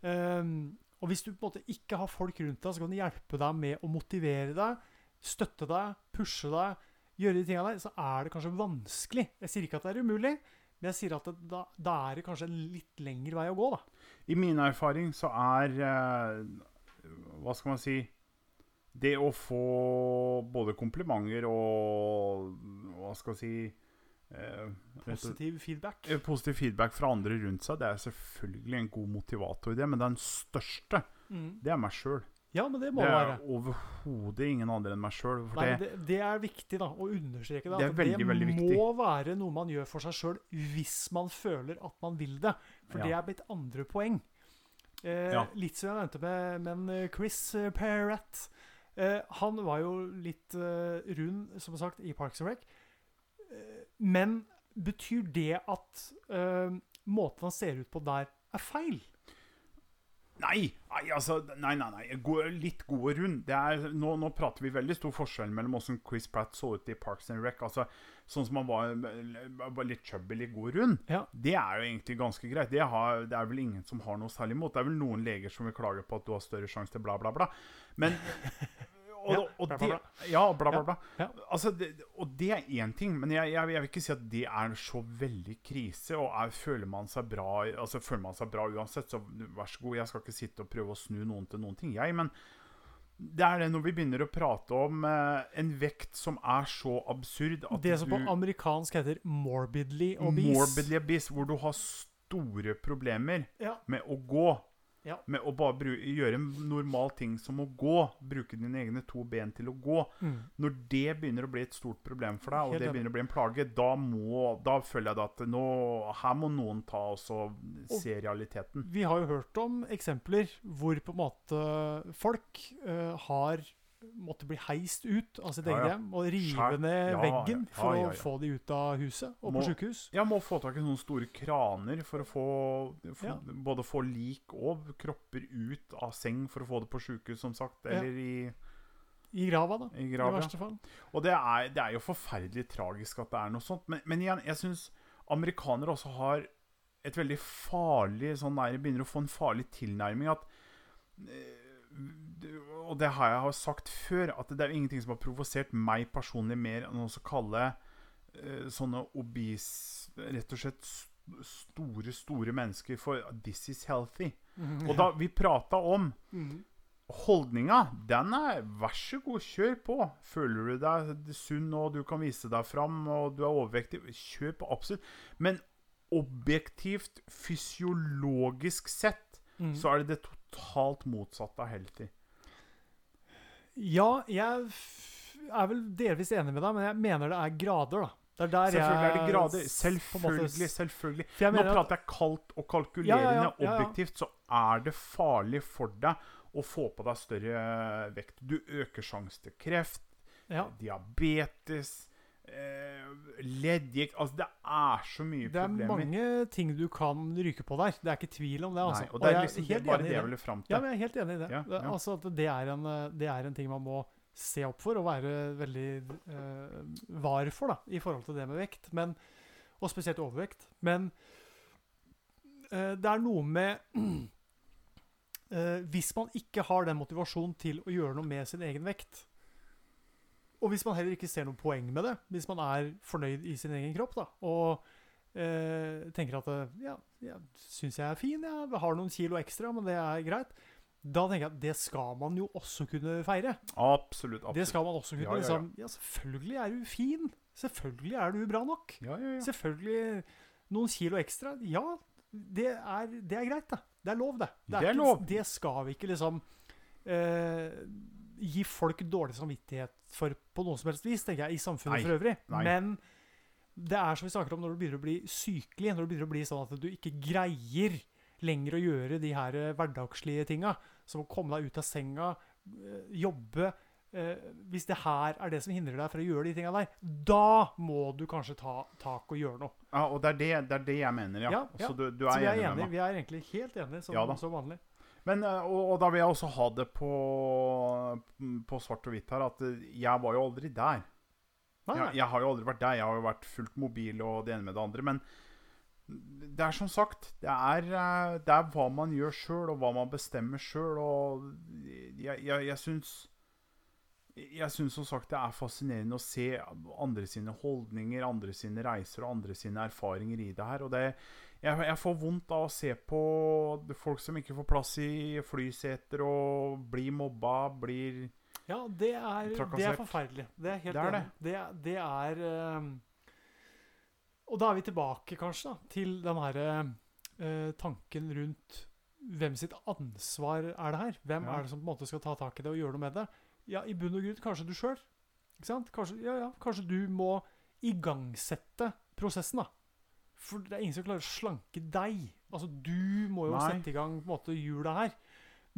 S1: Ehm, og hvis du på en måte ikke har folk rundt deg, så kan de hjelpe deg med å motivere deg, støtte deg, pushe deg, gjøre de tingene der, så er det kanskje vanskelig. Jeg sier ikke at det er umulig, men jeg sier at det, da, da er det kanskje en litt lengre vei å gå, da.
S2: I min erfaring så er eh, Hva skal man si Det å få både komplimenter og Hva skal man si eh, rett og-
S1: Positiv feedback.
S2: eh, Positiv feedback fra andre rundt seg, det er selvfølgelig en god motivator i det, men den største,
S1: Mm.
S2: det er meg sjøl.
S1: Ja, men det må
S2: Det er
S1: være.
S2: overhodet ingen andre enn meg sjøl.
S1: Nei, men det, det er viktig da, å understreke det.
S2: Det er
S1: at
S2: veldig,
S1: det
S2: veldig
S1: må
S2: viktig.
S1: være noe man gjør for seg sjøl hvis man føler at man vil det. For det
S2: Ja.
S1: er mitt andre poeng. Eh,
S2: Ja.
S1: Litt som jeg nevnte med, med en, eh, Chris eh, Perrett. Eh, han var jo litt eh, rund, som sagt, i Parks and Rec. Eh, men betyr det at eh, måten han ser ut på der, er feil?
S2: Nei, nei, altså, nei, nei, nei. Gode, litt gode rund. Det er, nå, nå prater vi veldig stor forskjell mellom hvordan Chris Pratt så ut i Parks and Rec. Altså, sånn som han var, var litt chubby, litt god rund.
S1: Ja.
S2: Det er jo egentlig ganske greit. Det, har, det er vel ingen som har noe særlig imot. Det er vel noen leger som vil klage på at du har større sjanse til bla, bla, bla. Men og,
S1: Ja,
S2: og
S1: bla, bla,
S2: det, ja, bla, bla, bla.
S1: Ja,
S2: Altså, det, og det er én ting, men jeg, jeg, jeg vil ikke si at det er så veldig krise. Og er, føler, man seg bra, altså, føler man seg bra uansett, så vær så god. Jeg skal ikke sitte og prøve å snu noen til noen ting, jeg. Men det er det når vi begynner å prate om eh, en vekt som er så absurd at
S1: Det som på
S2: du-
S1: amerikansk heter morbidly obese.
S2: Morbidly obese, hvor du har store problemer
S1: Ja.
S2: med å gå.
S1: Ja.
S2: Med å bare bru- gjøre en normal ting som å gå. Bruke dine egne to ben til å gå.
S1: Mm.
S2: Når det begynner å bli et stort problem for deg, og
S1: Helt
S2: det
S1: enig.
S2: begynner å bli en plage, da, må, da føler jeg da at nå, her må noen ta og så se realiteten.
S1: Vi har jo hørt om eksempler hvor på en måte folk eh, har måttet bli heist ut av sitt
S2: Ja,
S1: eget
S2: ja.
S1: hjem og rive
S2: Skjær-
S1: ned
S2: ja,
S1: veggen
S2: ja. Ja,
S1: for
S2: ja,
S1: å
S2: ja.
S1: få de ut av huset og
S2: Må-
S1: på sjukehus.
S2: Jeg må få tak i sånne store kraner for å få for,
S1: Ja.
S2: både få lik og kropper ut av seng for å få det på sjukehus, som sagt,
S1: Ja.
S2: eller
S1: I grava, da.
S2: i, i
S1: I
S2: grava.
S1: verste fall.
S2: Og det er, det er jo forferdelig tragisk at det er noe sånt. Men, men igjen, jeg syns amerikanere også har et veldig farlig sånn der, Begynner å få en farlig tilnærming at eh, Og det har jeg har sagt før, at det er jo ingenting som har provosert meg personlig mer enn å også kalle eh, sånne obese Rett og slett s- store, store mennesker for 'this is healthy'. Og da vi prata om
S1: Mhm.
S2: Holdninga, den er vær så god, kjør på. Føler du deg sunn og du kan vise deg fram og du er overvektig, kjør på absolutt. Men objektivt, fysiologisk sett,
S1: Mhm.
S2: så er det det totalt motsatte av healthy.
S1: Ja, jeg f- er vel delvis enig med deg, men jeg mener det er grader, da. Det er der
S2: Selvfølgelig
S1: jeg
S2: er det grader.
S1: s- på en måte
S2: Selvfølgelig,
S1: s-
S2: selvfølgelig.
S1: For jeg
S2: Nå
S1: mener at
S2: prater jeg kaldt og kalkulerende.
S1: Ja, ja, ja, ja, ja.
S2: Objektivt så er det farlig for deg å få på deg større vekt. Du øker sjansen til kreft.
S1: ja,
S2: diabetes, eh, leddgikt Altså, det er så mye
S1: det er
S2: problemer.
S1: mange ting du kan ryke på der. Det er ikke tvil om det, altså.
S2: Nei, og det er
S1: jeg
S2: liksom det,
S1: helt
S2: er bare
S1: enig i
S2: det
S1: det.
S2: jeg ville fram til.
S1: Ja, men jeg er helt enig i det.
S2: Ja,
S1: Det-
S2: ja.
S1: Altså at det er, en, eh, det er en ting man må se opp for og være veldig eh, var for da, i forhold til det med vekt. Men, og spesielt overvekt. Men eh, det er noe med eh, Hvis man ikke har den motivasjonen til å gjøre noe med sin egen vekt, og hvis man heller ikke ser noe poeng med det, hvis man er fornøyd i sin egen kropp da, og eh, tenker at eh, ja, jeg syns jeg er fin, jeg har noen kilo ekstra, men det er greit. Da tenker jeg at det skal man jo også kunne feire.
S2: Absolutt. absolutt.
S1: Det skal man også kunne
S2: Ja, ja, ja.
S1: liksom Ja, selvfølgelig er du fin. Selvfølgelig er du bra nok.
S2: ja, ja, ja.
S1: Selvfølgelig noen kilo ekstra. Ja, det er, det er greit, da. Det er lov, det.
S2: Det er
S1: ikke-
S2: lov.
S1: Det skal vi ikke liksom eh, gi folk dårlig samvittighet for på noe som helst vis, tenker jeg, i samfunnet
S2: Nei,
S1: for øvrig.
S2: nei.
S1: Men det er som vi snakker om når du begynner å bli sykelig, når du begynner å bli sånn at du ikke greier lenger å gjøre de her eh, hverdagslige tinga. Som å komme deg ut av senga, eh, jobbe eh, Hvis det her er det som hindrer deg fra å gjøre de tinga der, da må du kanskje ta tak og gjøre noe.
S2: Ja, og det er det, det, er det jeg mener, ja.
S1: Ja, ja.
S2: Så du, du
S1: Så
S2: er,
S1: vi er,
S2: enig med
S1: enige,
S2: meg.
S1: vi er egentlig helt enige, som,
S2: Ja da.
S1: som vanlig.
S2: Men, eh, og, og da vil jeg også ha det på, på svart og hvitt her, at eh, jeg var jo aldri der.
S1: Nei,
S2: Jeg, jeg har jo aldri vært der. Jeg har jo vært fullt mobil og det ene med det andre. Men det er som sagt Det er, eh, det er hva man gjør sjøl, og hva man bestemmer sjøl, og jeg, jeg, jeg syns jeg syns som sagt det er fascinerende å se andre sine holdninger, andre sine reiser og andre sine erfaringer i det her. Og det, jeg, jeg får vondt av å se på folk som ikke får plass i flyseter og blir mobba, blir
S1: Ja, det er, det er
S2: Trakassert.
S1: forferdelig. Det er helt
S2: Det er
S1: enig. Det, er- det er eh, Og da er vi tilbake, kanskje, da, til den herre eh, tanken rundt hvem sitt ansvar er det her? Hvem
S2: Ja.
S1: er det som på en måte skal ta tak i det og gjøre noe med det? Ja, i bunn og grunn kanskje du sjøl. Ikke sant? Kanskje, ja, ja, kanskje du må igangsette prosessen, da. For det er ingen som klarer å slanke deg. Altså, du må jo
S2: Nei.
S1: sette i gang på en måte hjula her.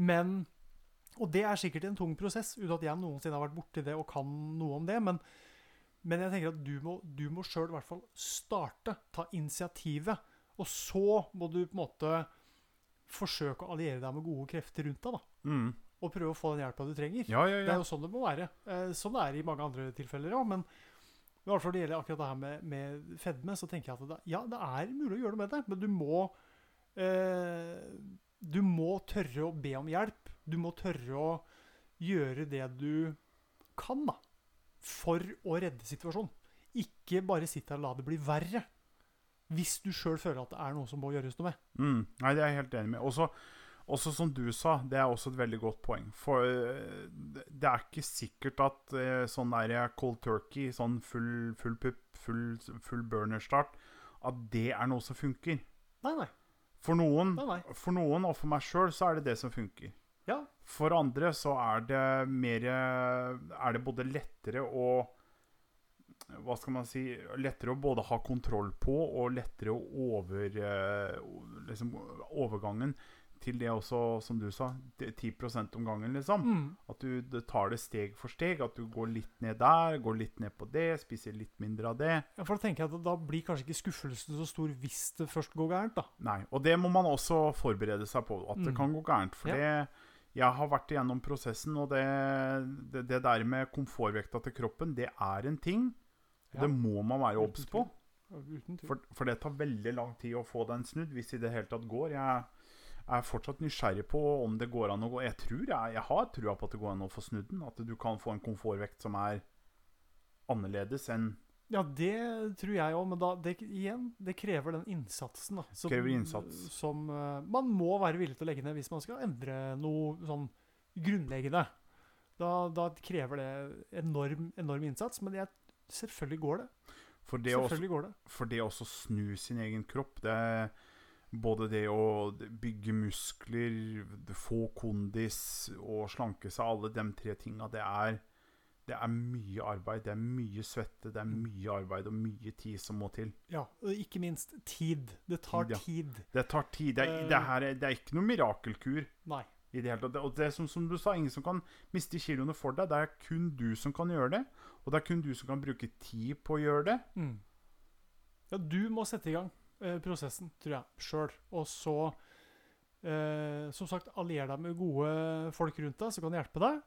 S1: Men Og det er sikkert en tung prosess, uten at jeg noensinne har vært borti det og kan noe om det, men, men jeg tenker at du må, du må sjøl i hvert fall starte. Ta initiativet. Og så må du på en måte forsøke å alliere deg med gode krefter rundt deg, da.
S2: mm.
S1: Og prøve å få den hjelpa du trenger.
S2: Ja,
S1: Det
S2: ja, ja.
S1: er jo sånn det må være. Eh, sånn det er i mange andre tilfeller òg. Men men i hvert fall når det gjelder akkurat det her med, med fedme, så tenker jeg at det, ja, det er mulig å gjøre noe med det, men du må eh, Du må tørre å be om hjelp. Du må tørre å gjøre det du kan, da. For å redde situasjonen. Ikke bare sitt der og la det bli verre. Hvis du sjøl føler at det er noe som må gjøres noe med.
S2: Mm. Nei, det er jeg helt enig med. Også, også som du sa, det er også et veldig godt poeng. For eh, det det er ikke sikkert at eh, sånn der eh, cold turkey, sånn full, full pupp, full, full burner-start, at det er noe som funker.
S1: Nei, nei.
S2: For noen,
S1: nei, nei.
S2: for noen og for meg sjøl, så er det det som funker.
S1: Ja.
S2: For andre så er det mer Er det både lettere å Hva skal man si Lettere å både ha kontroll på og lettere å over eh, o- liksom, Overgangen til det også, som du sa, det- 10 om gangen, liksom.
S1: Mm.
S2: At du d- tar det steg for steg. At du går litt ned der, går litt ned på det, spiser litt mindre av det.
S1: Ja, For da tenker jeg at da blir kanskje ikke skuffelsen så stor hvis det først går gærent, da.
S2: Nei, og det må man også forberede seg på, at det
S1: Mm.
S2: kan gå gærent. For
S1: Ja.
S2: det, jeg har vært igjennom prosessen, og det, det, det der med komfortvekta til kroppen, det er en ting. og
S1: Ja.
S2: Det må man være
S1: Uten
S2: obs på,
S1: Ja, Uten tvil.
S2: for, for det tar veldig lang tid å få den snudd, hvis det i det hele tatt går. Jeg er fortsatt nysgjerrig på om det går an å gå Jeg tror jeg, jeg har trua på at det går an å få snudd den. At du kan få en komfortvekt som er annerledes enn
S1: Ja, det tror jeg òg, men da, det, igjen, det krever den innsatsen. Da, som,
S2: Krever innsats.
S1: Som eh, man må være villig til å legge ned hvis man skal endre noe sånn grunnleggende. Da, da krever det enorm, enorm innsats, men jeg, selvfølgelig går det.
S2: For det å
S1: Selvfølgelig går det.
S2: For det å også snu sin egen kropp det er Både det å bygge muskler, få kondis og slanke seg, alle de tre tinga, det er det er mye arbeid, det er mye svette, det er mye arbeid og mye tid som må til.
S1: Ja, og ikke minst tid. Det tar
S2: Tid, ja.
S1: tid.
S2: Det tar tid. Det er, det her er, det er ikke noe mirakelkur
S1: Nei.
S2: i det hele tatt. Og det er som, som du sa, ingen som kan miste kiloene for deg. Det er kun du som kan gjøre det. Og det er kun du som kan bruke tid på å gjøre det.
S1: Mm. Ja, du må sette i gang eh, prosessen, tror jeg, sjøl. Og så, eh, som sagt, allier deg med gode folk rundt deg som kan hjelpe deg,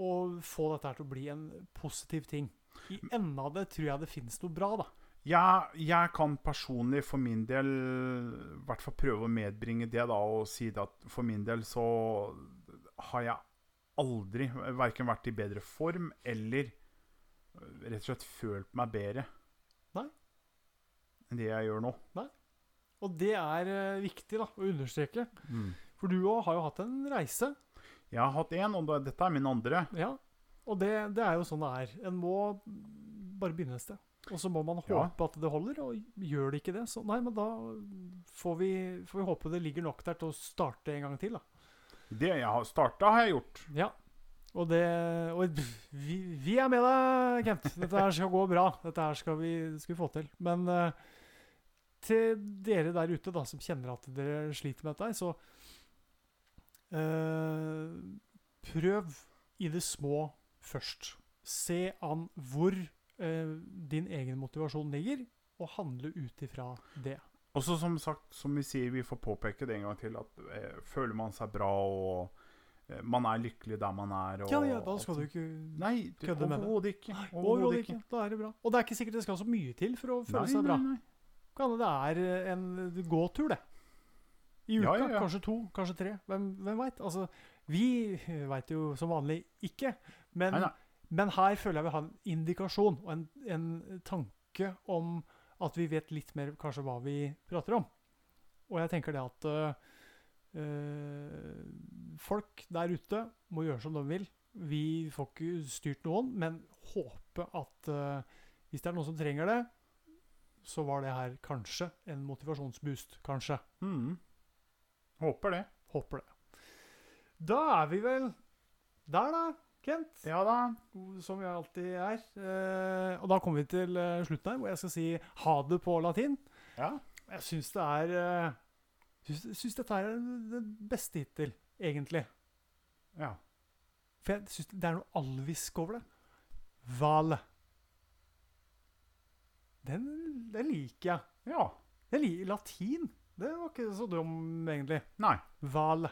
S1: og få dette her til å bli en positiv ting. I enden av det tror jeg det finnes noe bra, da.
S2: Jeg, jeg kan personlig for min del i hvert fall prøve å medbringe det da, og si det at for min del så har jeg aldri verken vært i bedre form eller øh, rett og slett følt meg bedre
S1: Nei.
S2: enn det jeg gjør nå.
S1: Og det er eh, viktig da, å understreke. For du òg har jo hatt en reise.
S2: Jeg har hatt én, og da- dette er min andre.
S1: Ja. Og det, det er jo sånn det er. En må bare begynne et sted. Og så må man håpe
S2: Ja.
S1: at det holder, og gjør det ikke det, så nei, men da får vi, får vi håpe det ligger nok der til å starte en gang til, da.
S2: Det jeg har starta, har jeg gjort.
S1: Ja. Og det Og vi, vi er med deg, Kent. Dette her skal gå bra. Dette her skal vi, skal vi få til. Men eh, til dere der ute da, som kjenner at dere sliter med dette, her, så eh, prøv i det små først. Se an hvor eh, din egen motivasjon ligger, og handle ut ifra det.
S2: Og så som sagt, som vi sier, vi får påpeke det en gang til, at eh, føler man seg bra og eh, man er lykkelig der man er og
S1: Ja, ja, da skal du ikke
S2: altså. Nei, det-
S1: kødde med det.
S2: overhodet ikke.
S1: Nei,
S2: Overhodet
S1: Overhodet ikke. Da er det bra. Og det er ikke sikkert det skal så mye til for å føle
S2: Nei,
S1: seg bra.
S2: nei, nei.
S1: Kan hende det er eh, en gåtur, det. I uka.
S2: Ja, ja, ja.
S1: Kanskje to, kanskje tre. Hvem, hvem veit? Altså, vi veit jo som vanlig ikke. Men,
S2: Nei, nei.
S1: men her føler jeg vi har en indikasjon og en, en tanke om at vi vet litt mer kanskje hva vi prater om. Og jeg tenker det at eh, eh, folk der ute må gjøre som de vil. Vi får ikke styrt noen, men håpe at eh, hvis det er noen som trenger det, så var det her kanskje en motivasjonsboost. Kanskje.
S2: Mhm. Håper det.
S1: Håper det. Da er vi vel der, da, Kent.
S2: Ja da.
S1: Som vi alltid er. Eh, og da kommer vi til eh, slutten her, hvor jeg skal si ha det på latin.
S2: Ja.
S1: Jeg syns det er eh, syns, syns dette her er det beste hittil, egentlig.
S2: ja.
S1: For jeg syns det er noe alvisk over det. Vale. Den, den liker jeg.
S2: Ja.
S1: Den liker latin. Det var ikke så dum, egentlig.
S2: Nei.
S1: Vale.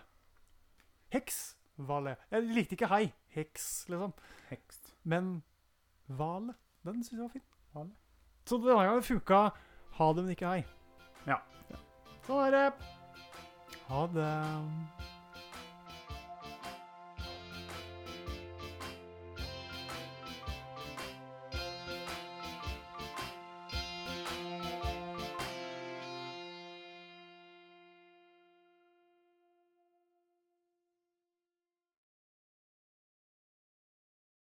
S1: Heks. Vale. Jeg likte ikke hei. Heks, liksom.
S2: Hekst.
S1: Men vale, den syns jeg var fin.
S2: Vale.
S1: Så denne gangen funka ha det, men ikke hei.
S2: Ja.
S1: Sånn er det. Ha det.